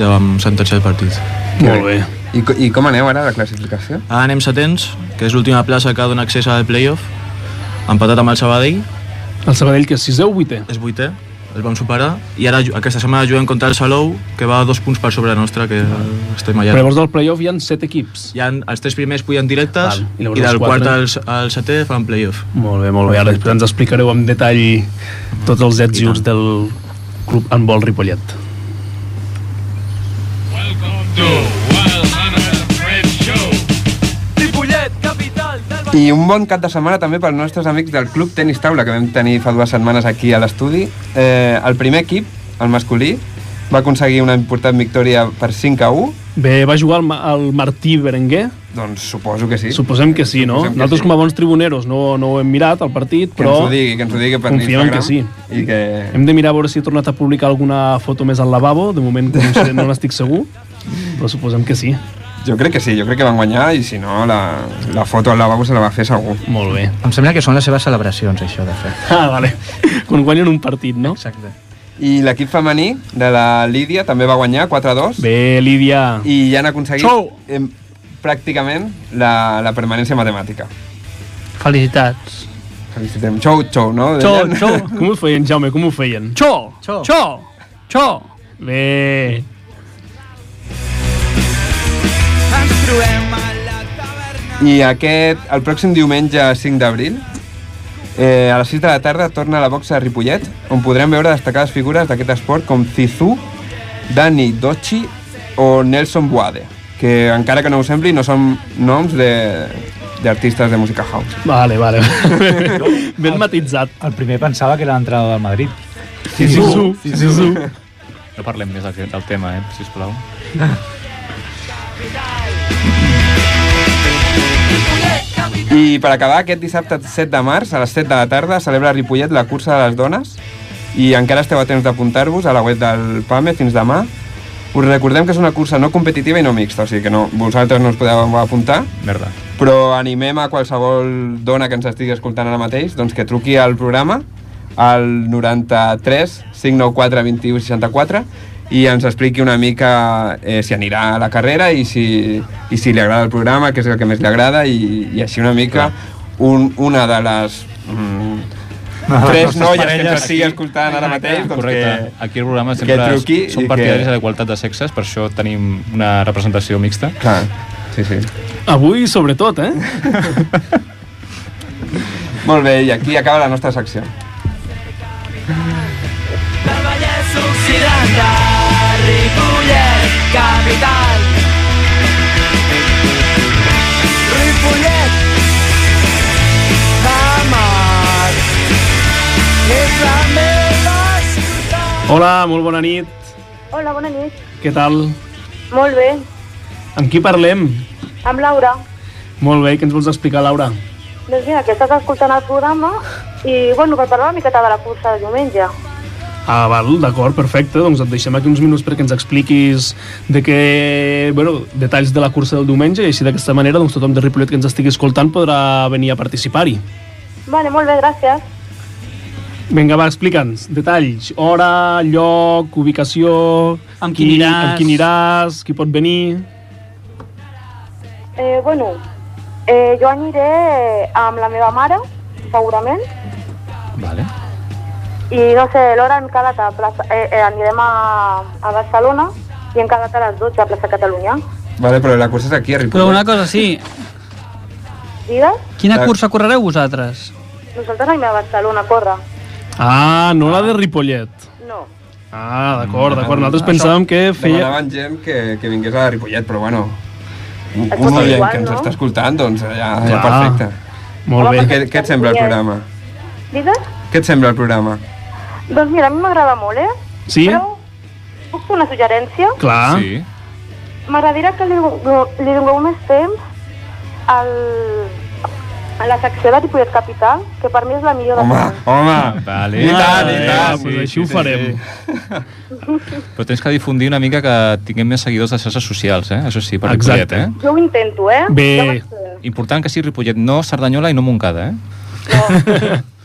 [SPEAKER 7] ja vam sentenciar el partit.
[SPEAKER 2] Molt bé.
[SPEAKER 1] I, co- I com aneu ara a la classificació?
[SPEAKER 7] Ara anem setents, que és l'última plaça que dona accés al playoff, empatat amb el Sabadell,
[SPEAKER 2] El Sabadell que és 6 o 8
[SPEAKER 7] és vuitè, el vam superar, i ara ju- aquesta setmana juguem contra el Salou, que va dos punts per sobre nostra, que estem allà.
[SPEAKER 2] Però llavors del playoff hi ha 7 equips.
[SPEAKER 7] Hi ha, els tres primers pugen directes,
[SPEAKER 2] Val, i
[SPEAKER 7] i,
[SPEAKER 2] llavors
[SPEAKER 7] del
[SPEAKER 2] els quatre.
[SPEAKER 7] quart al, al setè fan playoff.
[SPEAKER 2] Molt bé, molt bé. Ara després ens explicareu amb detall tots els ets i uts del club handbol Ripollet.
[SPEAKER 9] Ripollet, capital del Vallès.
[SPEAKER 1] I un bon cap de setmana també pels nostres amics del Club Tenis Taula que vam tenir fa dues setmanes aquí a l'estudi. Eh, el primer equip, el masculí, va aconseguir una important victòria per 5 a 1
[SPEAKER 2] Bé, va jugar el, Ma- el Martí Berenguer,
[SPEAKER 1] doncs suposo que sí.
[SPEAKER 2] Suposem que sí, no?
[SPEAKER 1] Suposem que
[SPEAKER 2] Nosaltres
[SPEAKER 1] sí.
[SPEAKER 2] com a bons tribuneros no, no ho hem mirat, el partit,
[SPEAKER 1] que ens
[SPEAKER 2] però
[SPEAKER 1] ho digui, que ens ho digui per
[SPEAKER 2] confiem en
[SPEAKER 1] Instagram
[SPEAKER 2] que sí.
[SPEAKER 1] i que...
[SPEAKER 2] hem de mirar a veure si he tornat a publicar alguna foto més al lavabo, de moment no, sé, no n'estic segur, però suposem que sí.
[SPEAKER 1] Jo crec que sí, jo crec que van guanyar i si no la, la foto al lavabo se la va fer segur.
[SPEAKER 2] Molt bé.
[SPEAKER 6] Em sembla que són les seves celebracions, això, de fet.
[SPEAKER 2] Ah, vale. Quan guanyen un partit, no?
[SPEAKER 6] Exacte.
[SPEAKER 1] I l'equip femení de la Lídia també va guanyar 4-2
[SPEAKER 2] Bé, Lídia.
[SPEAKER 1] i ja han aconseguit
[SPEAKER 2] Xou!
[SPEAKER 1] em, pràcticament la, la permanència matemàtica.
[SPEAKER 3] Felicitats.
[SPEAKER 1] Felicitem. Xou, xou, no?
[SPEAKER 3] Xou,
[SPEAKER 1] Deien?
[SPEAKER 3] xou.
[SPEAKER 2] Com ho feien, Jaume? Com ho feien?
[SPEAKER 3] Xo! Xo!
[SPEAKER 6] Xo.
[SPEAKER 3] Xo! Xo!
[SPEAKER 2] Bé.
[SPEAKER 1] I aquest, el pròxim diumenge 5 d'abril, eh, a les 6 de la tarda torna a la boxa de Ripollet, on podrem veure destacades figures d'aquest esport com Zizou, Dani Dochi o Nelson Boade, que encara que no us sembli no són noms de- d'artistes de, de música house.
[SPEAKER 2] Vale, vale. ben matitzat.
[SPEAKER 4] El primer pensava que era l'entrenador del Madrid.
[SPEAKER 2] Sisu. Sisu.
[SPEAKER 5] No parlem més del, del tema, eh, sisplau.
[SPEAKER 1] I per acabar, aquest dissabte 7 de març, a les 7 de la tarda, celebra a Ripollet la cursa de les dones i encara esteu a temps d'apuntar-vos a la web del PAME fins demà. Us recordem que és una cursa no competitiva i no mixta, o sigui que no, vosaltres no us podeu apuntar,
[SPEAKER 5] Merda.
[SPEAKER 1] però animem a qualsevol dona que ens estigui escoltant ara mateix doncs que truqui al programa al 93 594 21 64 i ens expliqui una mica eh, si anirà a la carrera i si, i si li agrada el programa, que és el que més li agrada i, i així una mica un, una de les mm,
[SPEAKER 4] Una de les
[SPEAKER 1] tres
[SPEAKER 4] nostres
[SPEAKER 1] noies que
[SPEAKER 4] parelles
[SPEAKER 1] ens estigui escoltant ara mateix doncs
[SPEAKER 5] Correcte.
[SPEAKER 1] que,
[SPEAKER 5] Aquí el programa
[SPEAKER 1] que
[SPEAKER 5] sempre
[SPEAKER 1] truqui i
[SPEAKER 5] som
[SPEAKER 1] que-
[SPEAKER 5] partidaris de la igualtat de sexes, per això tenim una representació mixta.
[SPEAKER 1] clar, sí, sí
[SPEAKER 2] Avui, sobretot, eh?
[SPEAKER 1] molt bé, i aquí acaba la nostra secció
[SPEAKER 9] Del Vallès Occidental, Ripollet, capital. Ripollet, amar, és la meva ciutat.
[SPEAKER 2] Hola, molt bona nit.
[SPEAKER 10] Hola, bona nit.
[SPEAKER 2] Què tal?
[SPEAKER 10] Molt bé.
[SPEAKER 2] Amb qui parlem?
[SPEAKER 10] Amb Laura.
[SPEAKER 2] Molt bé, què ens vols explicar, Laura?
[SPEAKER 10] Doncs mira, que estàs escoltant el programa i, bueno, per parlar una miqueta de la cursa de diumenge.
[SPEAKER 2] Ah, val, d'acord, perfecte. Doncs et deixem aquí uns minuts perquè ens expliquis de què, bueno, detalls de la cursa del diumenge i així d'aquesta manera doncs, tothom de Ripollet que ens estigui escoltant podrà venir a participar-hi.
[SPEAKER 10] Vale, molt bé, gràcies.
[SPEAKER 2] Vinga, va, explica'ns. Detalls, hora, lloc, ubicació...
[SPEAKER 3] Amb qui aniràs.
[SPEAKER 2] Amb qui aniràs, qui pot venir...
[SPEAKER 10] Eh, bueno, eh, jo aniré amb la meva mare, segurament,
[SPEAKER 5] Vale.
[SPEAKER 10] i no sé, l'hora hem quedat a plaça... Eh, eh, anirem a, a Barcelona i hem quedat a les 12 a plaça Catalunya.
[SPEAKER 1] Vale, però la cursa és aquí, a Ripollet.
[SPEAKER 3] Però una cosa, sí,
[SPEAKER 10] Digues,
[SPEAKER 3] quina
[SPEAKER 1] Clar.
[SPEAKER 3] cursa correreu vosaltres?
[SPEAKER 10] nosaltres anem a Barcelona, corre.
[SPEAKER 2] Ah, no la de Ripollet.
[SPEAKER 10] No.
[SPEAKER 2] Ah, d'acord, d'acord. Nosaltres pensàvem que feia...
[SPEAKER 1] Demanaven gent que, que vingués a Ripollet, però bueno... Un,
[SPEAKER 10] Et
[SPEAKER 1] un
[SPEAKER 10] costa
[SPEAKER 1] oient
[SPEAKER 10] igual,
[SPEAKER 1] que ens
[SPEAKER 10] no?
[SPEAKER 1] està escoltant, doncs ja, ja
[SPEAKER 2] Clar.
[SPEAKER 1] perfecte.
[SPEAKER 2] Molt
[SPEAKER 1] I
[SPEAKER 2] bé.
[SPEAKER 1] què, què et sembla el programa?
[SPEAKER 10] Digues?
[SPEAKER 1] Què et sembla el programa?
[SPEAKER 10] Doncs mira, a mi m'agrada molt, eh?
[SPEAKER 2] Sí?
[SPEAKER 10] Però puc fer una suggerència?
[SPEAKER 2] Clar.
[SPEAKER 5] Sí.
[SPEAKER 10] M'agradaria que li, li dongueu més temps al, a la secció de Ripollet Capital, que per mi és la millor
[SPEAKER 1] Home,
[SPEAKER 10] de tot.
[SPEAKER 1] home!
[SPEAKER 5] Vale.
[SPEAKER 1] I tant, i
[SPEAKER 2] Ah,
[SPEAKER 1] tant!
[SPEAKER 2] eh, doncs així ho farem.
[SPEAKER 5] Però tens que difundir una mica que tinguem més seguidors de xarxes socials, eh? Això sí, per
[SPEAKER 2] Exacte.
[SPEAKER 5] Ripollet, eh?
[SPEAKER 10] Jo ho intento, eh?
[SPEAKER 2] Bé.
[SPEAKER 10] Ja vaig fer.
[SPEAKER 5] Important que sí Ripollet, no Cerdanyola i no Montcada, eh?
[SPEAKER 10] No.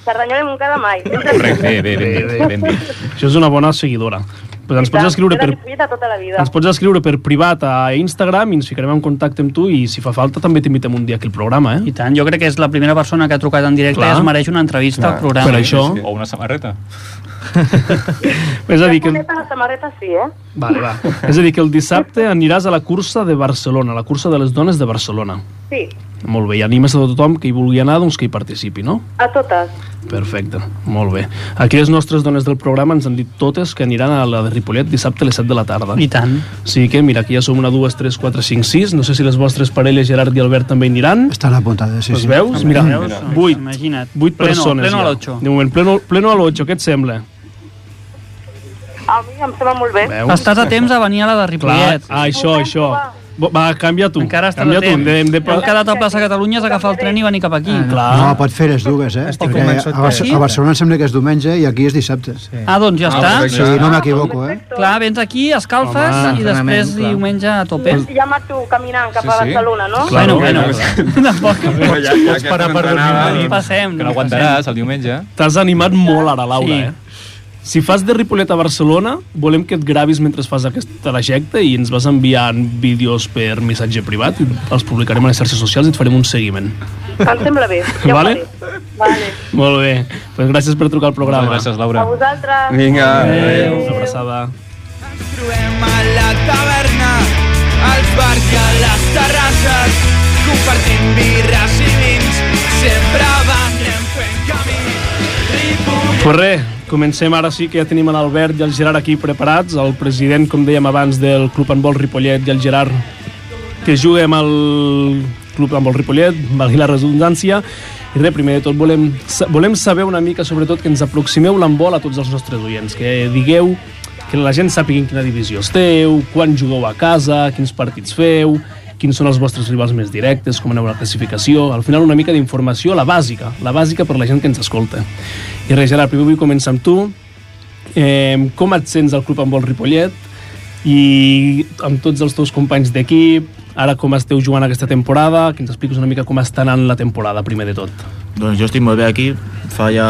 [SPEAKER 10] Cerdanyola i Montcada mai.
[SPEAKER 5] Correcte, bé, bé, ben dit, ben dit.
[SPEAKER 2] Això és una bona seguidora. Pues ens pots escriure per...
[SPEAKER 10] Ripollet de tota la vida.
[SPEAKER 2] Ens pots escriure per privat a Instagram i ens ficarem en contacte amb tu i si fa falta també t'invitem un dia aquí al programa,
[SPEAKER 3] I
[SPEAKER 2] eh?
[SPEAKER 3] tant, jo crec que és la primera persona que ha trucat en directe
[SPEAKER 2] Clar.
[SPEAKER 3] i es mereix una entrevista
[SPEAKER 1] Clar.
[SPEAKER 3] al programa.
[SPEAKER 2] Per això...
[SPEAKER 5] O una samarreta.
[SPEAKER 2] És a dir, que,
[SPEAKER 10] Poneta, la samarreta sí, eh?
[SPEAKER 2] vale, va. és a dir, que el dissabte aniràs a la cursa de Barcelona, la cursa de les dones de Barcelona.
[SPEAKER 10] Sí,
[SPEAKER 2] Molt bé, i animes a tothom que hi vulgui anar, doncs que hi participi, no?
[SPEAKER 10] a totes.
[SPEAKER 2] Perfecte, molt bé. Aquí les nostres dones del programa ens han dit totes que aniran a la de Ripollet dissabte a les 7 de la tarda.
[SPEAKER 3] I tant.
[SPEAKER 2] Sí que, mira, aquí ja som una, dues, tres, quatre, cinc, sis. No sé si les vostres parelles, Gerard i Albert, també hi aniran.
[SPEAKER 11] Estan apuntades, sí,
[SPEAKER 2] Les
[SPEAKER 11] sí.
[SPEAKER 2] veus? Mira,
[SPEAKER 3] Veus?
[SPEAKER 2] vuit.
[SPEAKER 3] Imagina't.
[SPEAKER 2] Vuit
[SPEAKER 3] pleno,
[SPEAKER 2] persones
[SPEAKER 3] Pleno
[SPEAKER 2] ja.
[SPEAKER 3] a l'otxo.
[SPEAKER 2] De moment, pleno, pleno a l'8, què et sembla?
[SPEAKER 10] A mi em sembla molt bé.
[SPEAKER 2] Veus?
[SPEAKER 3] Estàs a temps de venir a la de
[SPEAKER 2] Clar,
[SPEAKER 3] Ripollet.
[SPEAKER 2] ah, això, això. Bo, Va, canvia tu.
[SPEAKER 3] Encara estàs
[SPEAKER 2] canvia
[SPEAKER 3] a
[SPEAKER 2] tu.
[SPEAKER 3] temps.
[SPEAKER 2] Hem de,
[SPEAKER 3] Hem
[SPEAKER 2] hem de...
[SPEAKER 3] quedat a plaça Catalunya, has d'agafar el tren i venir cap aquí.
[SPEAKER 2] Clar.
[SPEAKER 11] No, pot fer les dues, eh?
[SPEAKER 6] Estic
[SPEAKER 11] Perquè
[SPEAKER 6] convençut
[SPEAKER 11] a, Bar
[SPEAKER 3] que sí.
[SPEAKER 11] a Barcelona em sembla que és diumenge i aquí és dissabte. Sí,
[SPEAKER 3] Ah, doncs ja
[SPEAKER 1] Ah,
[SPEAKER 3] està.
[SPEAKER 1] perfecte.
[SPEAKER 11] no m'equivoco, eh?
[SPEAKER 3] Clar, vens aquí, escalfes
[SPEAKER 2] Home,
[SPEAKER 3] i després
[SPEAKER 6] entrenament, clar.
[SPEAKER 3] diumenge a tope.
[SPEAKER 10] I ja marxo caminant cap
[SPEAKER 5] Sí,
[SPEAKER 10] a
[SPEAKER 5] sí.
[SPEAKER 10] Barcelona, no?
[SPEAKER 2] Clar.
[SPEAKER 3] Bueno,
[SPEAKER 1] Bueno,
[SPEAKER 3] bueno, tampoc.
[SPEAKER 1] Però ja, ja que
[SPEAKER 4] parar
[SPEAKER 1] estàs
[SPEAKER 4] per dormir
[SPEAKER 1] entrenada,
[SPEAKER 4] una
[SPEAKER 1] doncs-
[SPEAKER 4] nit.
[SPEAKER 3] Passem.
[SPEAKER 5] Que no aguantaràs el diumenge.
[SPEAKER 2] T'has animat molt ara, Laura,
[SPEAKER 3] Sí.
[SPEAKER 2] eh? Si fas de Ripollet a Barcelona, volem que et gravis mentre fas aquest trajecte i ens vas enviant vídeos per missatge privat i els publicarem a les xarxes socials i et farem un seguiment.
[SPEAKER 10] Em sembla bé. Ja ho
[SPEAKER 2] Vale.
[SPEAKER 10] faré. Vale.
[SPEAKER 2] Molt bé. Pues gràcies per trucar al programa.
[SPEAKER 5] Moltes
[SPEAKER 10] A
[SPEAKER 5] gràcies, Laura.
[SPEAKER 10] vosaltres.
[SPEAKER 1] Vinga, adéu.
[SPEAKER 2] Adéu. Una abraçada.
[SPEAKER 9] Trobem a la taverna, als bars i a les terrasses, compartint birres i vins, sempre vendrem fent camí. Ripollet.
[SPEAKER 2] Pues res, comencem ara sí que ja tenim l'Albert i el Gerard aquí preparats, el president, com dèiem abans, del Club Handbol Ripollet i el Gerard que juga amb el Club Handbol Ripollet, valgui la redundància. I res, primer de tot volem, sa- volem saber una mica, sobretot, que ens aproximeu l'handbol a tots els nostres oients, que digueu que la gent sàpiga en quina divisió esteu, quan jugueu a casa, quins partits feu, quins són els vostres rivals més directes, com aneu a la classificació... Al final, una mica d'informació, la bàsica, la bàsica per la gent que ens escolta. I res, Gerard, primer vull començar amb tu. Eh, com et sents al Club Handbol Ripollet? I amb tots els teus companys d'equip, ara com esteu jugant aquesta temporada, que ens expliquis una mica com està anant la temporada, primer de tot.
[SPEAKER 7] Doncs jo estic molt bé aquí, fa ja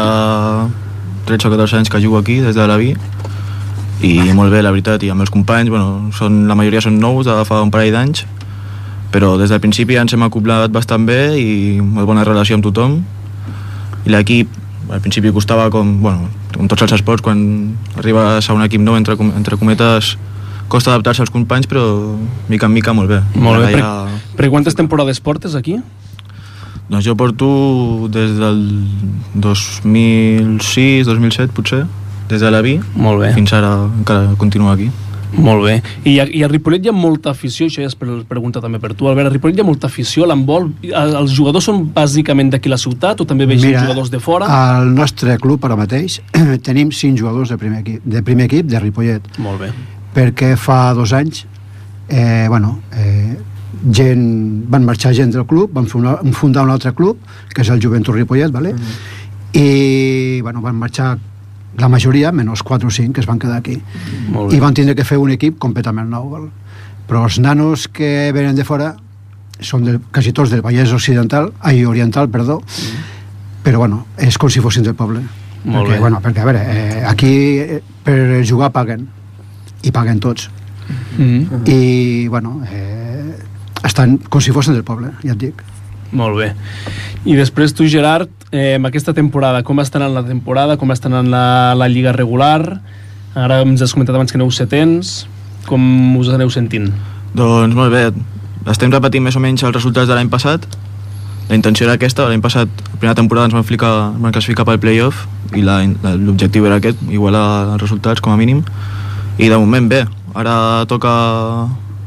[SPEAKER 7] 13 o 14 anys que jugo aquí, des de la Vi, i molt bé, la veritat, i els meus companys, bueno, són, la majoria són nous, de fa un parell d'anys, però des del principi ens hem acoblat bastant bé i molt bona relació amb tothom, i l'equip al principi costava com, bueno, com tots els esports, quan arribes a un equip nou, entre, com- entre cometes, costa adaptar-se als companys, però mica en mica molt bé.
[SPEAKER 2] Molt bé,
[SPEAKER 7] Ara
[SPEAKER 2] però, però quantes temporades portes aquí?
[SPEAKER 7] doncs jo porto des del 2006-2007, potser, des de la Vi,
[SPEAKER 2] Molt bé,
[SPEAKER 7] fins ara encara continuo aquí.
[SPEAKER 2] molt bé. I a, i a Ripollet hi ha molta afició, això ja és per- pregunta també per tu, Albert, a Ripollet hi ha molta afició, a l'handbol, A- els jugadors són bàsicament d'aquí a la ciutat o també veig jugadors de fora?
[SPEAKER 11] al nostre club ara mateix tenim cinc jugadors de primer equip, de, primer equip de Ripollet.
[SPEAKER 2] Molt bé.
[SPEAKER 11] perquè fa dos anys eh, bueno, eh, gent, van marxar gent del club, van fundar, van fundar un altre club, que és el Juventus Ripollet, vale? i bueno, van marxar la majoria, menys 4 o 5, que es van quedar aquí.
[SPEAKER 12] Molt bé.
[SPEAKER 11] I van tindre que fer un equip completament nou. Però els nanos que venen de fora són de, quasi tots del Vallès Occidental, ai, Oriental, perdó, però bueno, és com si fossin del poble.
[SPEAKER 12] Mm. Molt
[SPEAKER 11] perquè,
[SPEAKER 12] bé.
[SPEAKER 11] Bueno, perquè, a veure, eh, aquí eh, per jugar paguen, i paguen tots.
[SPEAKER 12] Mm.
[SPEAKER 11] I, bueno, eh, estan com si fossin del poble, ja et dic.
[SPEAKER 2] Molt bé. I després tu, Gerard, eh, amb aquesta temporada, com està anant la temporada, com està anant la, la lliga regular? Ara ens has comentat abans que aneu setents. Com us aneu sentint?
[SPEAKER 7] Doncs molt bé, estem repetint més o menys els resultats de l'any passat. La intenció era aquesta, l'any passat, la primera temporada ens van, ficar, ens van classificar pel playoff i la- la- l'objectiu era aquest, igualar els resultats com a mínim. I de moment bé, ara toca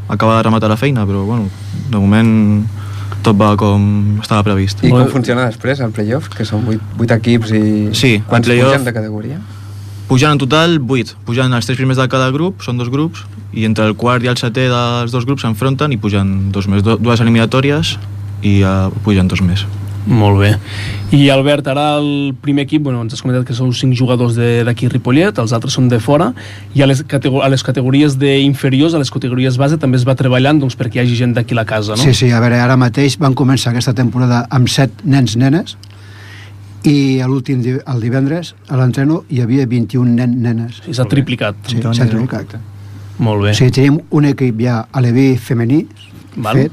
[SPEAKER 7] acabar de rematar la feina, però bueno, de moment tot va com estava previst.
[SPEAKER 1] I com funciona després el playoff, que són 8, 8 equips i
[SPEAKER 7] Sí, el
[SPEAKER 1] quants
[SPEAKER 7] playoff-
[SPEAKER 1] pugen de categoria?
[SPEAKER 7] Pujant en total 8, pujant els tres primers de cada grup, són dos grups, i entre el quart i el setè dels dos grups s'enfronten i pujan dos més, do, dues eliminatòries i uh, pugen dos més.
[SPEAKER 2] Molt bé. I Albert, ara el primer equip, bueno, ens has comentat que sou cinc jugadors de- d'aquí Ripollet, els altres són de fora, i a les, catego a les categories d'inferiors, a les categories base, també es va treballant doncs, perquè hi hagi gent d'aquí a la casa, no?
[SPEAKER 11] Sí, sí, a veure, ara mateix van començar aquesta temporada amb set nens nenes i a l'últim di- el divendres a l'entreno hi havia 21 nen nenes.
[SPEAKER 2] I s'ha triplicat.
[SPEAKER 11] Sí, s'ha triplicat.
[SPEAKER 2] Molt bé.
[SPEAKER 11] O sigui, tenim un equip ja a l'EBI femení
[SPEAKER 2] Val.
[SPEAKER 11] fet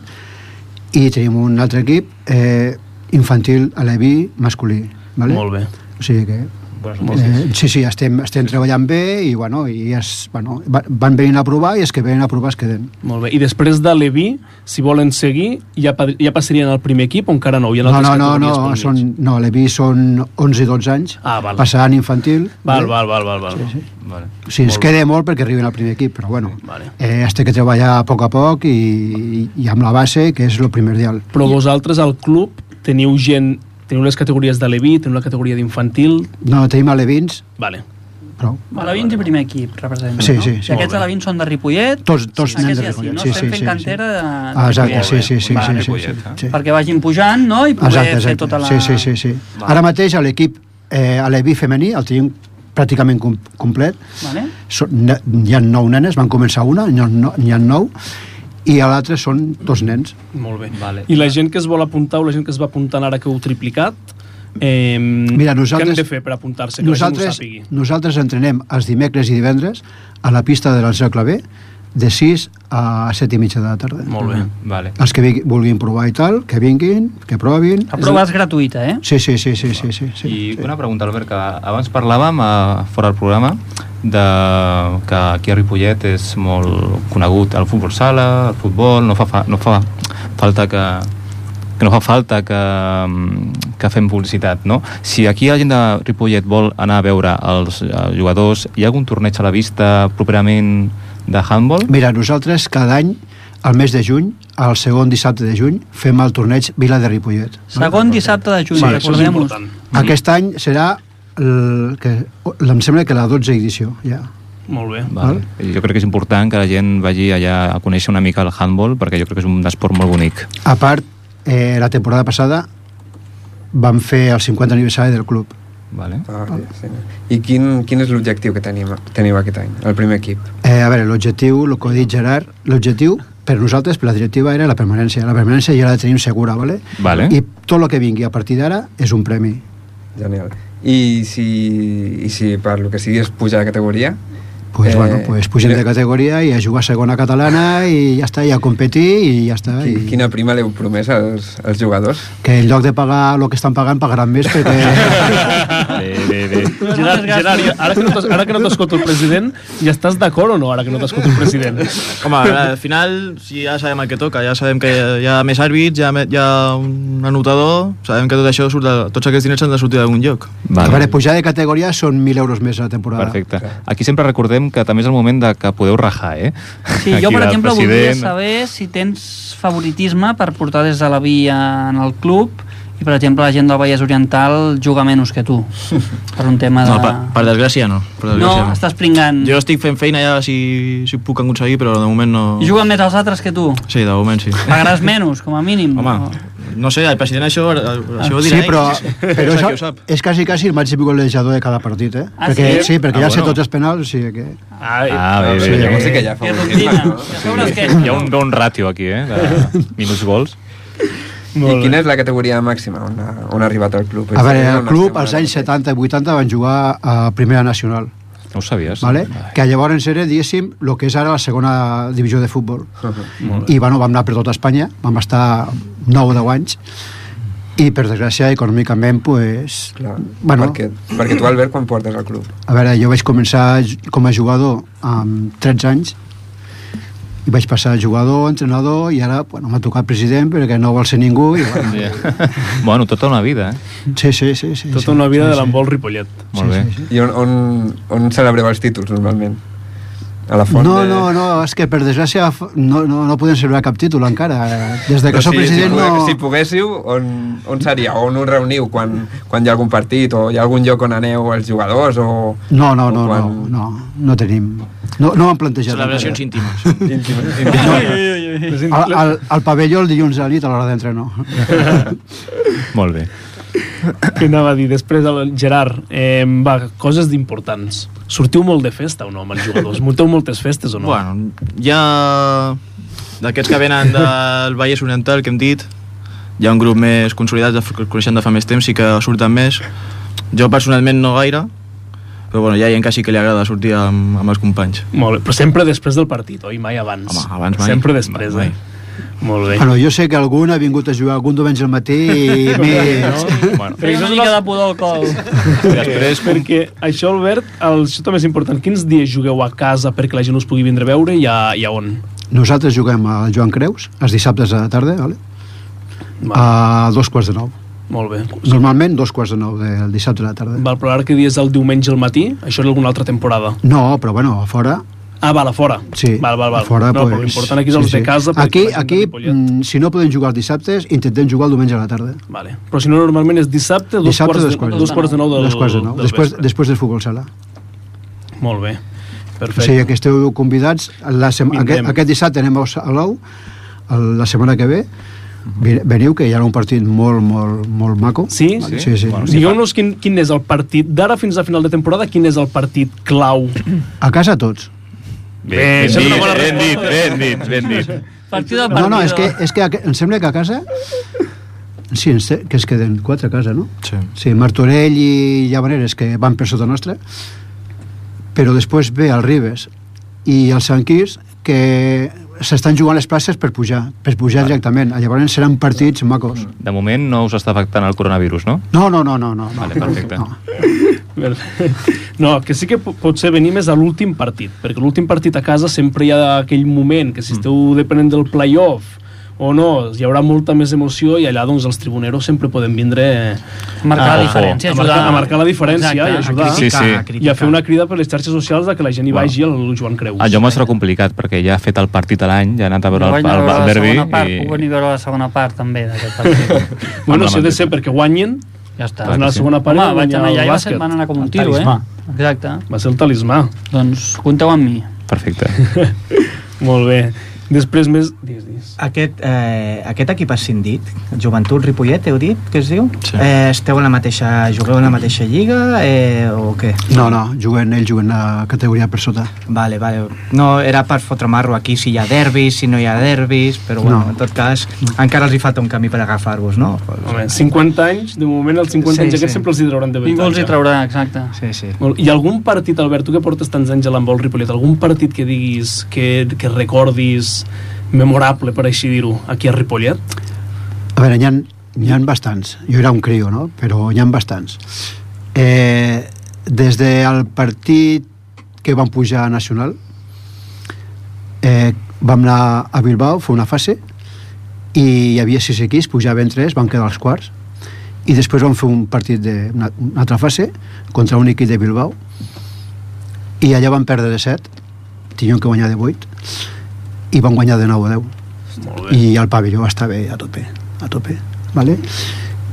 [SPEAKER 11] i tenim un altre equip eh, infantil a l'EBI masculí. Vale?
[SPEAKER 2] Molt bé.
[SPEAKER 11] O sigui que Eh, sí, sí, estem, estem treballant bé i, bueno, i es, bueno, va- van venint a provar i els que venen a provar es queden.
[SPEAKER 2] Molt bé. I després de l'Evi, si volen seguir, ja, pa- ja passarien al primer equip o encara no? Hi ha
[SPEAKER 11] No,
[SPEAKER 2] altres
[SPEAKER 11] no, no,
[SPEAKER 2] categories
[SPEAKER 11] no,
[SPEAKER 2] pel mig?
[SPEAKER 11] són, no l'EBI són 11 i 12 anys,
[SPEAKER 2] Ah, val.
[SPEAKER 11] passaran infantil.
[SPEAKER 2] Val,
[SPEAKER 11] eh?
[SPEAKER 2] val, val, val. val. Sí, sí.
[SPEAKER 5] Vale.
[SPEAKER 11] Sí, es
[SPEAKER 2] Molt
[SPEAKER 11] queda molt perquè arriben al primer equip, però bueno, vale. eh, es té que treballar a poc a poc i, i amb la base, que és el primordial.
[SPEAKER 2] Però vosaltres al club teniu gent, teniu les categories de l'Evi, teniu la categoria d'infantil...
[SPEAKER 11] No, tenim alevins,
[SPEAKER 2] Vale.
[SPEAKER 11] però
[SPEAKER 3] Alevins i primer equip representen,
[SPEAKER 11] Sí,
[SPEAKER 3] no?
[SPEAKER 11] sí, sí.
[SPEAKER 3] I aquests
[SPEAKER 11] Molt bé.
[SPEAKER 3] alevins són de Ripollet?
[SPEAKER 11] Tots- tots
[SPEAKER 3] Aquests
[SPEAKER 11] nens de
[SPEAKER 3] ja sí,
[SPEAKER 11] Ripollet,
[SPEAKER 3] No?
[SPEAKER 11] sí,
[SPEAKER 3] Estem
[SPEAKER 11] sí,
[SPEAKER 3] fent
[SPEAKER 11] sí,
[SPEAKER 3] cantera de... de
[SPEAKER 11] Ah, exacte,
[SPEAKER 3] Ripollet.
[SPEAKER 11] sí, sí, sí,
[SPEAKER 3] Vale.
[SPEAKER 11] sí, sí, sí, sí.
[SPEAKER 3] Perquè vagin pujant, no? I poder
[SPEAKER 11] Exacte,
[SPEAKER 3] fer
[SPEAKER 11] exacte.
[SPEAKER 3] tota la...
[SPEAKER 11] Sí, sí, sí. sí. Ara mateix a l'equip eh, a l'EBI femení el tenim pràcticament com complet.
[SPEAKER 3] Vale.
[SPEAKER 11] Són, ne- hi ha nou nenes, van començar una, n'hi ha, no, n'hi ha nou, i a l'altre són dos nens.
[SPEAKER 2] Molt bé. Vale. I la gent que es vol apuntar o la gent que es va apuntant ara que heu triplicat, eh,
[SPEAKER 11] Mira, nosaltres-
[SPEAKER 2] què hem de fer per apuntar-se? Que la
[SPEAKER 11] Nosaltres,
[SPEAKER 2] gent ho sàpigui.
[SPEAKER 11] nosaltres entrenem els dimecres i divendres a la pista de l'Alcercle B de 6 a 7 i mitja de la tarda.
[SPEAKER 2] Molt bé.
[SPEAKER 3] Mm-hmm.
[SPEAKER 5] Vale.
[SPEAKER 11] Els que vingui- vulguin provar i tal, que vinguin, que provin.
[SPEAKER 5] La prova és
[SPEAKER 3] gratuïta, eh?
[SPEAKER 11] Sí, sí, sí, sí, sí, sí, sí.
[SPEAKER 5] I una pregunta, Albert, que abans parlàvem a, fora del programa de, que aquí a Ripollet és molt conegut el futbol sala, el futbol, no fa, fa, no fa falta que que no fa falta que, mm, que fem publicitat, no? Si aquí la gent de Ripollet vol anar a veure els eh, jugadors, hi ha algun torneig a la vista properament de handball?
[SPEAKER 11] Mira, nosaltres cada any, al mes de juny, al segon dissabte de juny, fem el torneig Vila de Ripollet.
[SPEAKER 3] Segon dissabte de juny,
[SPEAKER 11] Vale.
[SPEAKER 3] recordem-ho.
[SPEAKER 11] Aquest any serà el, que, em sembla que la 12 edició, ja.
[SPEAKER 2] Molt bé.
[SPEAKER 5] Vale. Jo crec que és important que la gent vagi allà a conèixer una mica el handball perquè jo crec que és un esport molt bonic.
[SPEAKER 11] A part, eh, la temporada passada vam fer el 50 aniversari del club.
[SPEAKER 5] Vale.
[SPEAKER 1] Ah, sí, sí. I quin, quin és l'objectiu que tenim, teniu aquest any, el primer equip?
[SPEAKER 11] Eh, a veure, l'objectiu, el que ha dit Gerard, l'objectiu per nosaltres, per la directiva, era la permanència. La permanència ja la tenim segura, ¿vale?
[SPEAKER 5] Vale.
[SPEAKER 11] I tot el que vingui a partir d'ara és un premi.
[SPEAKER 1] Genial. I si, i si per lo que sigui és pujar de categoria?
[SPEAKER 11] Pues,
[SPEAKER 1] Eh,
[SPEAKER 11] eh, bueno, pues pugem
[SPEAKER 1] quina-
[SPEAKER 11] de categoria i a jugar a segona catalana i ja està, i a competir i ja està. I...
[SPEAKER 1] Qui- Quina prima l'heu promès als, als jugadors?
[SPEAKER 11] que en lloc de pagar el que estan pagant, pagaran més perquè...
[SPEAKER 5] Bé, bé, bé.
[SPEAKER 2] Gerard, Gerard, ja- ara que no t'es- ara que no t'escolto el president, ja estàs d'acord o no, ara que no t'escolto el president?
[SPEAKER 7] Home, a veure, al final si ja sabem el que toca, ja sabem que hi ha més àrbits, hi ha, me- hi ha un anotador, sabem que tot això surt de, tots aquests diners han de sortir d'algun lloc.
[SPEAKER 11] Vale. A veure, pujar de categoria són 1.000 euros més a la temporada.
[SPEAKER 5] Perfecte. Aquí sempre recordem que també és el moment de que podeu rajar, eh?
[SPEAKER 3] Sí, jo,
[SPEAKER 5] Aquí
[SPEAKER 3] per
[SPEAKER 5] del
[SPEAKER 3] exemple, voldria
[SPEAKER 5] president.
[SPEAKER 3] saber si tens favoritisme per portar des de la via en el club i, per exemple, la gent del Vallès Oriental juga menys que tu, per un tema de...
[SPEAKER 7] No, per, per desgràcia no. Per
[SPEAKER 3] Ah. no,
[SPEAKER 7] desgràcia,
[SPEAKER 3] estàs pringant.
[SPEAKER 7] Jo estic fent feina ja si, si ho puc aconseguir, però de moment no...
[SPEAKER 3] Juguen més els altres que tu.
[SPEAKER 7] Sí, de moment sí.
[SPEAKER 3] Pagaràs menys, com a mínim. Home,
[SPEAKER 7] No sé, el president això, eh, això ho dirà
[SPEAKER 11] Ah, Sí,
[SPEAKER 7] ell.
[SPEAKER 11] però,
[SPEAKER 7] Ho
[SPEAKER 11] però
[SPEAKER 7] sap,
[SPEAKER 11] això
[SPEAKER 7] qui ho sap.
[SPEAKER 11] és quasi, quasi el màxim golejador de cada partit, eh?
[SPEAKER 3] Ah,
[SPEAKER 11] perquè,
[SPEAKER 3] sí?
[SPEAKER 11] sí? perquè
[SPEAKER 5] Ah,
[SPEAKER 11] ja
[SPEAKER 5] bueno.
[SPEAKER 11] sé tots els penals, o sigui que...
[SPEAKER 2] Ah,
[SPEAKER 5] Ah, bé, bé,
[SPEAKER 11] sí,
[SPEAKER 5] bé.
[SPEAKER 1] Llavors sí que ja fa
[SPEAKER 3] Qué
[SPEAKER 1] un
[SPEAKER 3] rutina.
[SPEAKER 1] ritme, no?
[SPEAKER 3] A sobre els que...
[SPEAKER 5] Hi ha un bon ràtio aquí, eh? De minuts gols.
[SPEAKER 1] I quina és la categoria màxima on ha, on ha arribat el club?
[SPEAKER 11] A veure, el
[SPEAKER 1] On
[SPEAKER 11] club
[SPEAKER 1] estem
[SPEAKER 11] als
[SPEAKER 1] ara
[SPEAKER 11] anys 70
[SPEAKER 1] mateix?
[SPEAKER 11] i 80 van jugar a Primera Nacional,
[SPEAKER 5] No ho sabies.
[SPEAKER 11] vale?
[SPEAKER 5] Ai.
[SPEAKER 11] que llavors era, diguéssim, el que és ara la segona divisió de futbol.
[SPEAKER 5] Molt
[SPEAKER 11] I bueno, vam anar per tota Espanya, vam estar 9 o 10 anys, i per desgràcia, econòmicament, pues,
[SPEAKER 1] Clar,
[SPEAKER 11] ah, bueno,
[SPEAKER 1] perquè, perquè tu, Albert, quan portes el club?
[SPEAKER 11] A veure, jo vaig començar ju- com a jugador amb 13 anys i vaig passar a jugador, entrenador i ara bueno, m'ha tocat president perquè no vol ser ningú i, bueno,
[SPEAKER 5] Ja. bueno, tota una vida, eh?
[SPEAKER 11] sí, sí, sí, sí, sí,
[SPEAKER 2] Tota una vida
[SPEAKER 11] sí,
[SPEAKER 2] de
[SPEAKER 11] sí.
[SPEAKER 2] l'embol Ripollet.
[SPEAKER 11] Sí,
[SPEAKER 5] Molt bé.
[SPEAKER 11] sí, sí.
[SPEAKER 1] I on, on, on celebreu els títols, normalment? A la font
[SPEAKER 11] No,
[SPEAKER 1] de...
[SPEAKER 11] no, no, és que per desgràcia f- no, no, no podem celebrar cap títol encara. Des de que
[SPEAKER 1] Però
[SPEAKER 11] sóc
[SPEAKER 1] si,
[SPEAKER 11] president
[SPEAKER 1] si,
[SPEAKER 11] no...
[SPEAKER 1] pogué- si poguéssiu, on, on seria? On us reuniu quan, quan hi ha algun partit? O hi ha algun lloc on aneu els jugadors? O...
[SPEAKER 11] No, no,
[SPEAKER 1] o
[SPEAKER 11] no, no,
[SPEAKER 1] quan-
[SPEAKER 11] no, no tenim... No, no m'han plantejat.
[SPEAKER 7] Celebracions
[SPEAKER 11] encara.
[SPEAKER 7] íntimes.
[SPEAKER 1] Íntim, íntim.
[SPEAKER 11] Al, al, al pavelló el dilluns a la nit a l'hora d'entrenar.
[SPEAKER 5] Molt bé.
[SPEAKER 2] Què anava a dir? Després, el Gerard, eh, va, coses d'importants. Sortiu molt de festa o no amb els jugadors? Monteu moltes festes o no?
[SPEAKER 7] Bueno, hi ha... D'aquests que venen del Vallès Oriental, que hem dit, hi ha un grup més consolidat, que coneixem de fa més temps, sí que surten més. Jo personalment no gaire, però bueno, hi ha gent que sí que li agrada sortir amb, amb els companys.
[SPEAKER 2] Molt bé, però sempre després del partit, oi? Mai abans.
[SPEAKER 7] Home, abans mai.
[SPEAKER 2] Sempre després,
[SPEAKER 7] Mai,
[SPEAKER 2] eh? Molt bé.
[SPEAKER 11] Bueno, jo sé que algun ha vingut a jugar algun diumenge al matí i més...
[SPEAKER 5] Bueno,
[SPEAKER 3] Feia una mica de pudor al col.
[SPEAKER 5] i després, com,
[SPEAKER 2] Perquè això, Albert, el, això també és important. Quins dies jugueu a casa perquè la gent us pugui vindre a veure i a, i a on?
[SPEAKER 11] Nosaltres juguem al Joan Creus els dissabtes a la tarda, vale?
[SPEAKER 2] Va,
[SPEAKER 11] a dos quarts de nou.
[SPEAKER 2] Molt bé.
[SPEAKER 11] Normalment dos quarts de nou del dissabte a la tarda.
[SPEAKER 2] Val, però ara que dies el diumenge al matí, això és alguna altra temporada.
[SPEAKER 11] No, però bueno, a fora...
[SPEAKER 2] Ah, val, a fora.
[SPEAKER 11] Sí,
[SPEAKER 2] val, val, val.
[SPEAKER 11] a fora,
[SPEAKER 2] no,
[SPEAKER 11] pues,
[SPEAKER 2] però l'important aquí és els
[SPEAKER 11] sí,
[SPEAKER 2] de
[SPEAKER 11] sí.
[SPEAKER 2] casa.
[SPEAKER 11] Aquí,
[SPEAKER 2] perquè la gent de
[SPEAKER 11] aquí
[SPEAKER 2] Ripollet-
[SPEAKER 11] mm, si no podem jugar els dissabtes, intentem jugar el diumenge a la tarda.
[SPEAKER 2] Vale. Però si no, normalment és dissabte, dos,
[SPEAKER 11] Dissabte,
[SPEAKER 2] quarts,
[SPEAKER 11] dos
[SPEAKER 2] de,
[SPEAKER 11] quarts de-
[SPEAKER 2] dos quarts de nou del,
[SPEAKER 11] Dos quarts de nou,
[SPEAKER 2] del
[SPEAKER 11] després,
[SPEAKER 2] vespre.
[SPEAKER 11] després del futbol sala.
[SPEAKER 2] Molt bé.
[SPEAKER 11] O sigui
[SPEAKER 2] Perfecte.
[SPEAKER 11] que esteu convidats, la sema,
[SPEAKER 2] Vindrem.
[SPEAKER 11] aquest, aquest dissabte anem a Os- a l'OU, el- la setmana que ve, vi- veniu, que hi haurà un partit molt, molt, molt maco.
[SPEAKER 2] Sí?
[SPEAKER 11] Vale, sí, sí.
[SPEAKER 5] Bueno,
[SPEAKER 2] Digueu-nos quin, quin és el partit d'ara fins a final de temporada, quin és el partit clau.
[SPEAKER 11] A casa tots.
[SPEAKER 5] Bé,
[SPEAKER 2] Bé,
[SPEAKER 5] ben,
[SPEAKER 2] això és una
[SPEAKER 5] dit,
[SPEAKER 2] bona
[SPEAKER 5] ben dit,
[SPEAKER 2] resposta.
[SPEAKER 5] ben dit, ben dit.
[SPEAKER 3] Partida a partida.
[SPEAKER 11] No, no, és que, és que aqu- em sembla que a casa... Sí, ens te- que es queden quatre a casa, no?
[SPEAKER 7] Sí.
[SPEAKER 11] Sí, Martorell i Llavaneres, que van per sota nostra, però després ve el Ribes i el Sant Quirze, que s'estan jugant les places per pujar, per pujar directament. Llavors seran partits macos.
[SPEAKER 5] De moment no us està afectant el coronavirus, no?
[SPEAKER 11] No, no, no, no. no, no.
[SPEAKER 5] Vale, perfecte.
[SPEAKER 11] No.
[SPEAKER 2] No, que sí que po- potser venir més a l'últim partit, perquè l'últim partit a casa sempre hi ha aquell moment que
[SPEAKER 3] Mm.
[SPEAKER 2] si esteu depenent del playoff o no, hi haurà molta més emoció i allà doncs els tribuneros sempre poden vindre
[SPEAKER 3] Marcar
[SPEAKER 5] Ah,
[SPEAKER 3] la
[SPEAKER 5] ojo.
[SPEAKER 3] diferència,
[SPEAKER 2] a
[SPEAKER 3] ajudar.
[SPEAKER 2] marcar, a marcar la diferència i ajudar.
[SPEAKER 5] Sí, sí.
[SPEAKER 2] I a fer una crida per les xarxes socials de que la gent hi
[SPEAKER 5] Bueno.
[SPEAKER 2] vagi al Joan Creus.
[SPEAKER 5] Allò Ah, m'ho serà complicat, perquè ja ha fet el partit a l'any, ja ha anat a veure
[SPEAKER 3] Jo
[SPEAKER 5] el,
[SPEAKER 3] vaig anar a
[SPEAKER 5] el,
[SPEAKER 3] veure la
[SPEAKER 5] el derbi.
[SPEAKER 3] segona part, puc
[SPEAKER 5] I...
[SPEAKER 3] venir a veure la segona part també d'aquest partit.
[SPEAKER 2] Bueno,
[SPEAKER 5] Amb la
[SPEAKER 2] si ha de
[SPEAKER 5] mateixa.
[SPEAKER 2] ser perquè guanyin,
[SPEAKER 3] Ja està.
[SPEAKER 2] Doncs anar a la segona part
[SPEAKER 3] Home,
[SPEAKER 2] i
[SPEAKER 3] vaig
[SPEAKER 2] guanyar
[SPEAKER 3] anar allà
[SPEAKER 2] el
[SPEAKER 3] i va ser-
[SPEAKER 2] bàsquet.
[SPEAKER 3] van anar com
[SPEAKER 4] El
[SPEAKER 3] un tiro, eh?
[SPEAKER 4] talismà.
[SPEAKER 3] Exacte.
[SPEAKER 2] va ser el talismà.
[SPEAKER 3] Doncs compteu amb mi.
[SPEAKER 5] Perfecte.
[SPEAKER 2] Molt bé. Després més... Digues, digues.
[SPEAKER 12] Aquest, eh, aquest equip ascendit, Joventut Ripollet, heu dit, que es diu?
[SPEAKER 7] Sí.
[SPEAKER 12] Eh, esteu en la mateixa, jugueu en la mateixa lliga eh, o què?
[SPEAKER 11] No, no, juguen, ells juguen a categoria per sota.
[SPEAKER 12] Vale, vale. No, era per fotre marro aquí si hi ha derbis, si no hi ha derbis, però bueno,
[SPEAKER 11] No.
[SPEAKER 12] no. en tot cas, encara els hi falta un camí per agafar-vos, no?
[SPEAKER 2] Home, 50 anys, de moment els
[SPEAKER 12] Sí,
[SPEAKER 2] 50 anys aquests
[SPEAKER 12] sí.
[SPEAKER 2] sempre els hi trauran de
[SPEAKER 3] Ningú els hi traurà, exacte.
[SPEAKER 12] Sí, sí.
[SPEAKER 2] Molt. I algun partit, Albert, tu que portes tants anys a l'embol Ripollet, algun partit que diguis, que, que recordis memorable, per així dir-ho, aquí a Ripollet?
[SPEAKER 11] A veure, n'hi ha, n'hi ha bastants. Jo era un crio, no? Però n'hi ha bastants. Eh, des del partit que vam pujar a Nacional, eh, vam anar a Bilbao, fer una fase, i hi havia sis equips, pujaven tres, van quedar els quarts, i després vam fer un partit de, una, una altra fase contra un equip de Bilbao, i allà van perdre de set, tinguem que guanyar de vuit, i van guanyar de nou a deu
[SPEAKER 2] Molt
[SPEAKER 11] i el pavelló està bé a tope, a tope, vale?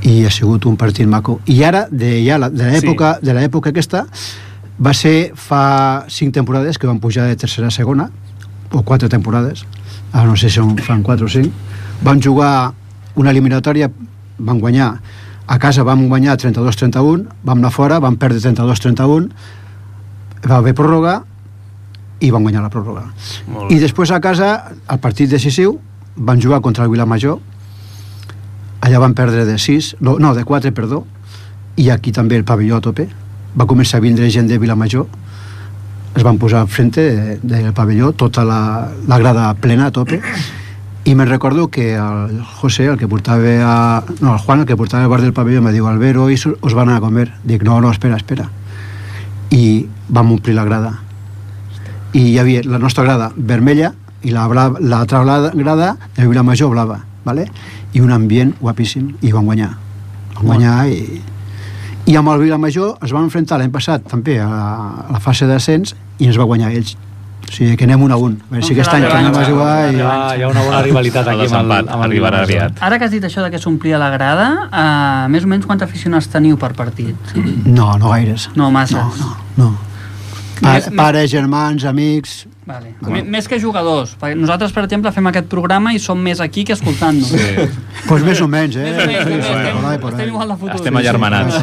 [SPEAKER 11] i ha sigut un partit maco i ara, de, ja la, de l'època sí. de l'època aquesta va ser fa cinc temporades que van pujar de tercera a segona o quatre temporades ara no sé si en fan quatre o cinc van jugar una eliminatòria van guanyar a casa vam guanyar 32-31 vam anar fora, vam perdre 32-31 va haver pròrroga i van guanyar la pròrroga i després a casa, al partit decisiu van jugar contra el Vilamajor allà van perdre de 6 no, no de 4, perdó i aquí també el pavelló a tope va començar a vindre gent de Vilamajor es van posar al frente de- del pavelló tota la, la grada plena a tope i me'n recordo que el José, el que portava a, no, el Juan, el que portava el bar del pavelló me diu, Albert, hoy su- us van a comer dic, no, no, espera, espera i vam omplir la grada i hi havia la nostra grada vermella i la bla- l'altra la grada de Vilamajor blava vale? i un ambient guapíssim i van guanyar van guanyar i, i amb el Vilamajor es van enfrontar l'any passat també a la, a la fase d'ascens i ens va guanyar ells o sigui que anem un a un a veure si aquest any que anem a jugar i...
[SPEAKER 4] Ah, hi ha una bona rivalitat aquí amb el, amb el
[SPEAKER 5] arribarà
[SPEAKER 4] Vilamajor.
[SPEAKER 5] aviat.
[SPEAKER 3] Ara que has dit això de que s'omplia la grada, uh, més o menys quants aficionats teniu per partit?
[SPEAKER 11] no, no gaires
[SPEAKER 3] No, massa. No,
[SPEAKER 11] pa,
[SPEAKER 3] Més- més-
[SPEAKER 11] pares, germans, amics
[SPEAKER 3] Vale. M- Més que jugadors. perquè Nosaltres, per exemple, fem aquest programa i som més aquí que escoltant-nos. Sí.
[SPEAKER 11] doncs més o menys eh?
[SPEAKER 3] Més o menys,
[SPEAKER 11] Sí,
[SPEAKER 3] més o menys.
[SPEAKER 11] por ahí, por
[SPEAKER 3] Estem
[SPEAKER 11] ahí.
[SPEAKER 3] igual de fotuts.
[SPEAKER 5] Estem allarmanats.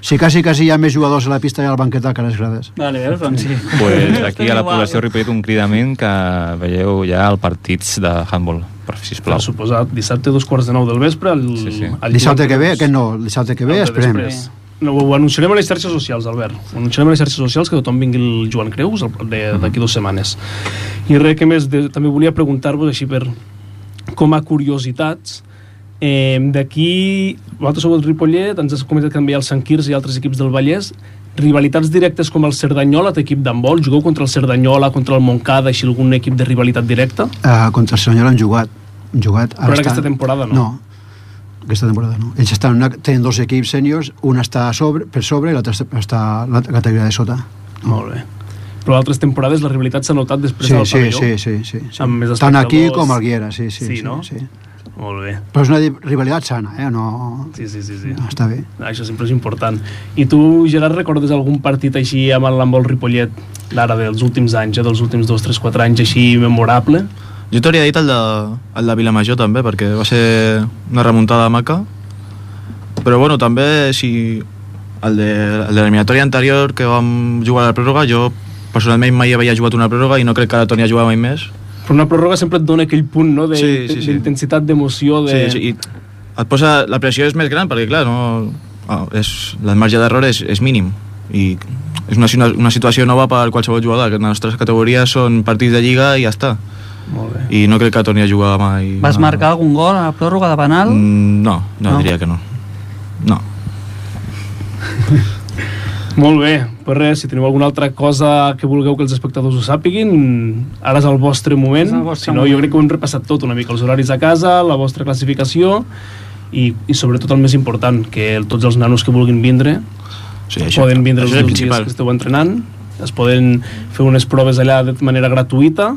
[SPEAKER 11] Sí, quasi, quasi hi ha més jugadors a la pista i al banquet que a les grades.
[SPEAKER 3] Vale, veus? Doncs sí.
[SPEAKER 5] Pues aquí a la població de Ripollet un cridament que veieu ja al partits de handball, per sisplau.
[SPEAKER 2] Per suposat, dissabte dos quarts de nou del vespre el, sí, sí.
[SPEAKER 11] El dissabte que ve, aquest no, el dissabte que ve, esperem.
[SPEAKER 2] No, ho anunciarem a les xarxes socials, Albert. Ho anunciarem a les xarxes socials que tothom vingui el Joan Creus el- de- d'aquí dues setmanes. I res, que més, de, també volia preguntar-vos així per, com a curiositats, eh, d'aquí, vosaltres sou el Ripollet, ens has comentat que també hi ha el Sant Quirze i altres equips del Vallès, rivalitats directes com el Cerdanyola, té equip d'handbol, jugueu contra el Cerdanyola, contra el Montcada, així algun equip de rivalitat directa?
[SPEAKER 11] Uh, contra el Senyor han jugat. Han jugat.
[SPEAKER 2] Però en aquesta temporada no.
[SPEAKER 11] No, aquesta temporada no. Ells estan, en una, tenen dos equips sèniors, un està a sobre, per sobre i l'altre està- està a la categoria de sota.
[SPEAKER 2] Molt bé. Però altres temporades la rivalitat s'ha notat després
[SPEAKER 11] Sí,
[SPEAKER 2] del
[SPEAKER 11] sí,
[SPEAKER 2] pavelló.
[SPEAKER 11] sí, sí, sí, sí.
[SPEAKER 2] Amb més
[SPEAKER 11] Tant aquí
[SPEAKER 2] espectadors.
[SPEAKER 11] com al Guiera, sí, sí,
[SPEAKER 2] Sí,
[SPEAKER 11] sí,
[SPEAKER 2] no?
[SPEAKER 11] sí.
[SPEAKER 2] Molt bé.
[SPEAKER 11] Però és una di- rivalitat sana, eh? No...
[SPEAKER 2] Sí, sí, sí. sí.
[SPEAKER 11] No, està bé.
[SPEAKER 2] Això sempre és important. I tu, Gerard, recordes algun partit així amb el Lambol Ripollet d'ara, dels últims anys, eh, dels últims dos, tres, quatre anys, així memorable?
[SPEAKER 7] Jo t'hauria dit el de, eh, el de Vilamajor també, perquè va ser una remuntada maca. Però bueno, també si el de, el de l'eliminatòria anterior que vam jugar a la pròrroga, jo personalment mai havia jugat una pròrroga i no crec que ara torni a jugar mai més.
[SPEAKER 2] Però una pròrroga sempre et dona aquell punt, no?, d'intensitat, de,
[SPEAKER 7] Sí, sí, sí.
[SPEAKER 2] d'intensitat, d'emoció,
[SPEAKER 7] Sí,
[SPEAKER 2] de...
[SPEAKER 7] sí, i et posa, la pressió és més gran perquè, clar, no, ah, és, el marge d'error és, és mínim i és una, una, una situació nova per qualsevol jugador, que les nostres categories són partits de lliga i ja està.
[SPEAKER 2] Molt bé.
[SPEAKER 7] I no crec que torni a jugar mai.
[SPEAKER 3] Vas
[SPEAKER 7] mai.
[SPEAKER 3] marcar algun gol a la pròrroga de penal?
[SPEAKER 7] Mm, No, no,
[SPEAKER 3] No?
[SPEAKER 7] no, diria que no. No.
[SPEAKER 2] Molt bé, per res, si teniu alguna altra cosa que vulgueu que els espectadors ho sàpiguin, ara és el vostre moment,
[SPEAKER 3] És el vostre
[SPEAKER 2] si no jo crec que ho hem repassat tot una mica, els horaris a casa, la vostra classificació i, i sobretot el més important, que el- tots els nanos que vulguin vindre
[SPEAKER 7] sí,
[SPEAKER 2] això, poden vindre els
[SPEAKER 7] això és el
[SPEAKER 2] dos dies
[SPEAKER 7] principal.
[SPEAKER 2] que esteu entrenant, es poden fer unes proves allà de manera gratuïta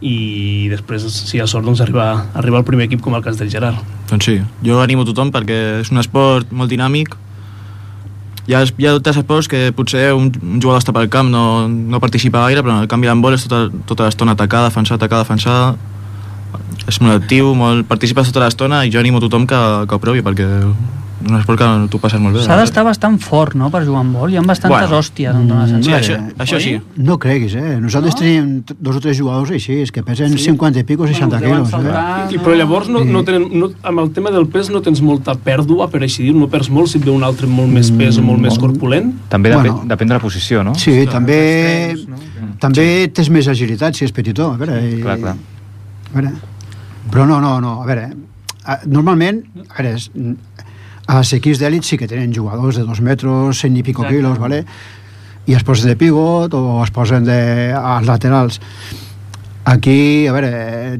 [SPEAKER 2] i després, si hi ha sort, doncs arribar, arribar al primer equip com el cas del Gerard.
[SPEAKER 7] Doncs sí, jo animo tothom perquè és un esport molt dinàmic. Hi ha, hi ha altres esports que potser un, un jugador està pel camp, no, no participa gaire, però en el canvi l'handbol és tota, tota l'estona atacar, defensar, atacar, defensar... És molt actiu, molt, participes tota l'estona i jo animo tothom que, que ho provi perquè és un esport que tu passes molt bé.
[SPEAKER 3] S'ha d'estar bastant fort, no?, per jugar amb vol. Hi ha bastantes
[SPEAKER 7] Bueno.
[SPEAKER 3] hòsties, em dóna la
[SPEAKER 7] Sí,
[SPEAKER 3] sensació.
[SPEAKER 7] això, això sí.
[SPEAKER 11] No creguis, eh? Nosaltres no? tenim t- dos o tres jugadors així, és que pesen sí. 50 i pico, 60
[SPEAKER 3] deuen
[SPEAKER 11] quilos. Eh?
[SPEAKER 2] I, però llavors no, no tenen, no, amb el tema del pes no tens molta pèrdua, per així dir, no perds molt si et ve un altre amb molt més pes o molt més corpulent.
[SPEAKER 5] També depèn,
[SPEAKER 11] Mm, Bueno.
[SPEAKER 5] depèn de la posició, no?
[SPEAKER 11] Sí, també, també tens més agilitat si és petitó. A veure, i,
[SPEAKER 5] Clar, clar.
[SPEAKER 11] A veure. Però no, no, no. A veure, eh, normalment, a veure, és- a les equips d'èlit sí que tenen jugadors de dos metres, cent i pico
[SPEAKER 3] Exacte.
[SPEAKER 11] quilos, vale? i es posen de pivot o es posen de, als laterals. Aquí, a veure,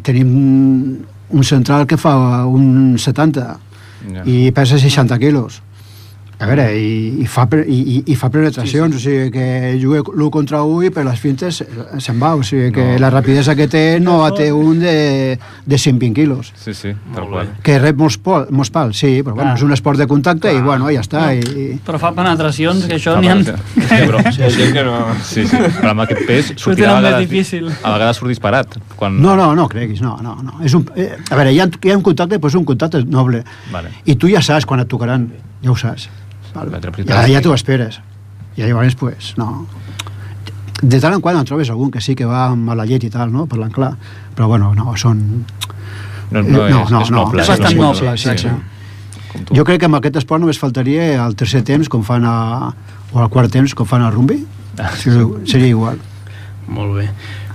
[SPEAKER 11] tenim un central que fa un 70
[SPEAKER 5] Ja.
[SPEAKER 11] i pesa 60 quilos. A veure, i, i, fa, pre- i, i, i fa penetracions, sí, sí. o sigui que juga l'1 contra 1 i per les fintes eh, se'n va, o sigui que no. la rapidesa que té no la té un de, de 120 quilos,
[SPEAKER 5] Sí, sí, tal qual.
[SPEAKER 11] que rep molts, pol, molts pals, sí, però bueno, és un esport de contacte i bueno, ja està, i,
[SPEAKER 3] Però fa penetracions, que això n'hi ha...
[SPEAKER 5] Eh. Sí, però, sí, que no. sí, sí, però amb aquest pes sortirà a
[SPEAKER 3] tenen més
[SPEAKER 5] vegades,
[SPEAKER 3] difícil.
[SPEAKER 5] a vegades surt disparat. Quan...
[SPEAKER 11] No, no, no creguis, no, no, no. És un, eh, a veure, hi ha, hi ha un contacte, però és un contacte noble.
[SPEAKER 5] Vale.
[SPEAKER 11] I tu ja saps quan et tocaran, ja ho saps.
[SPEAKER 5] Vale,
[SPEAKER 11] Ja, ja t'ho esperes. I llavors, pues, no. De tant en quant en trobes algun que sí que va amb mala llet i tal, no? Parlant clar. Però bueno, no, són...
[SPEAKER 5] No, no, és, no, és noble.
[SPEAKER 11] És bastant
[SPEAKER 5] una
[SPEAKER 11] noble,
[SPEAKER 5] sí,
[SPEAKER 11] exacte.
[SPEAKER 5] Com tu.
[SPEAKER 11] Jo crec que amb aquest esport només faltaria el tercer temps, com fan a, o el quart temps, com fan al rumbi.
[SPEAKER 5] Ah,
[SPEAKER 11] Sí, seria igual.
[SPEAKER 2] Molt bé.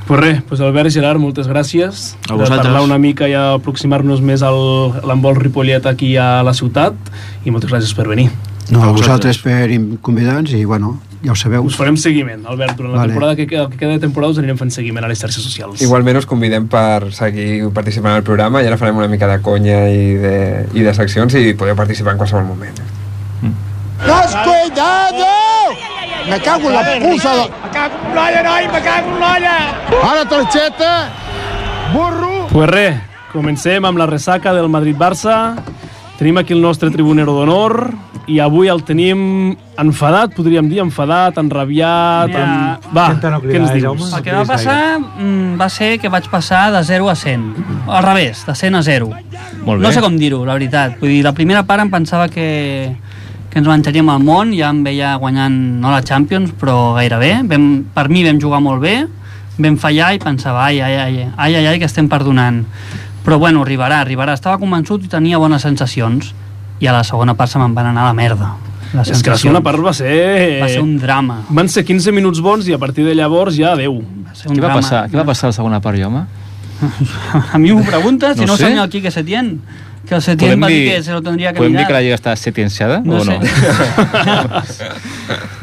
[SPEAKER 2] Pues res, pues Albert Gerard, moltes gràcies.
[SPEAKER 11] A vosaltres.
[SPEAKER 2] Per parlar una mica i aproximar-nos més al- a l'envol Ripollet aquí a la ciutat. I moltes gràcies per venir.
[SPEAKER 11] No, a vosaltres per in- convidar-nos i, bueno, ja ho sabeu.
[SPEAKER 2] Us farem seguiment, Albert, durant la
[SPEAKER 11] Vale.
[SPEAKER 2] temporada que, queda- que queda de temporada us anirem fent seguiment a les xarxes socials.
[SPEAKER 1] Igualment us convidem per seguir participant al programa i ara farem una mica de conya i de, i de seccions i podeu participar en qualsevol moment.
[SPEAKER 13] ¡Más cuidado! Me cago en la pusa. Me cago en l'olla, noi, me cago en l'olla. Ara, torxeta, burro.
[SPEAKER 2] Pues res, comencem amb la ressaca del Madrid-Barça. Tenim aquí el nostre tribunero d'honor i avui el tenim enfadat, podríem dir, enfadat, enrabiat...
[SPEAKER 3] Mira,
[SPEAKER 2] Amb... Va, què ens dius?
[SPEAKER 3] El que va passar mm, va ser que vaig passar de 0 a 100. Al revés, de 100 a 0.
[SPEAKER 2] Molt bé.
[SPEAKER 3] No sé com dir-ho, la veritat. Vull dir, la primera part em pensava que, que ens menjaríem al món, ja em veia guanyant, no la Champions, però gairebé. Vam, per mi vam jugar molt bé, vam fallar i pensava, ai, ai, ai, ai, ai, ai que estem perdonant. Però bueno, arribarà, arribarà. Estava convençut i tenia bones sensacions. I a la segona part se me'n van anar a la merda. Les
[SPEAKER 2] És que la segona part va ser...
[SPEAKER 3] Va ser un drama.
[SPEAKER 2] Van ser 15 minuts bons i a partir de llavors ja adeu.
[SPEAKER 3] un
[SPEAKER 5] Què va
[SPEAKER 3] drama.
[SPEAKER 5] passar? Què va passar a la segona part, jo, home?
[SPEAKER 3] A mi m'ho preguntes, si no,
[SPEAKER 5] No ho
[SPEAKER 3] no
[SPEAKER 5] sé.
[SPEAKER 3] senyor aquí que se tien. Que el Setién va dir, que se lo tendría que
[SPEAKER 5] podem dir
[SPEAKER 3] mirar.
[SPEAKER 5] que la Lliga està setienciada
[SPEAKER 3] No
[SPEAKER 5] o
[SPEAKER 3] sé.
[SPEAKER 5] no?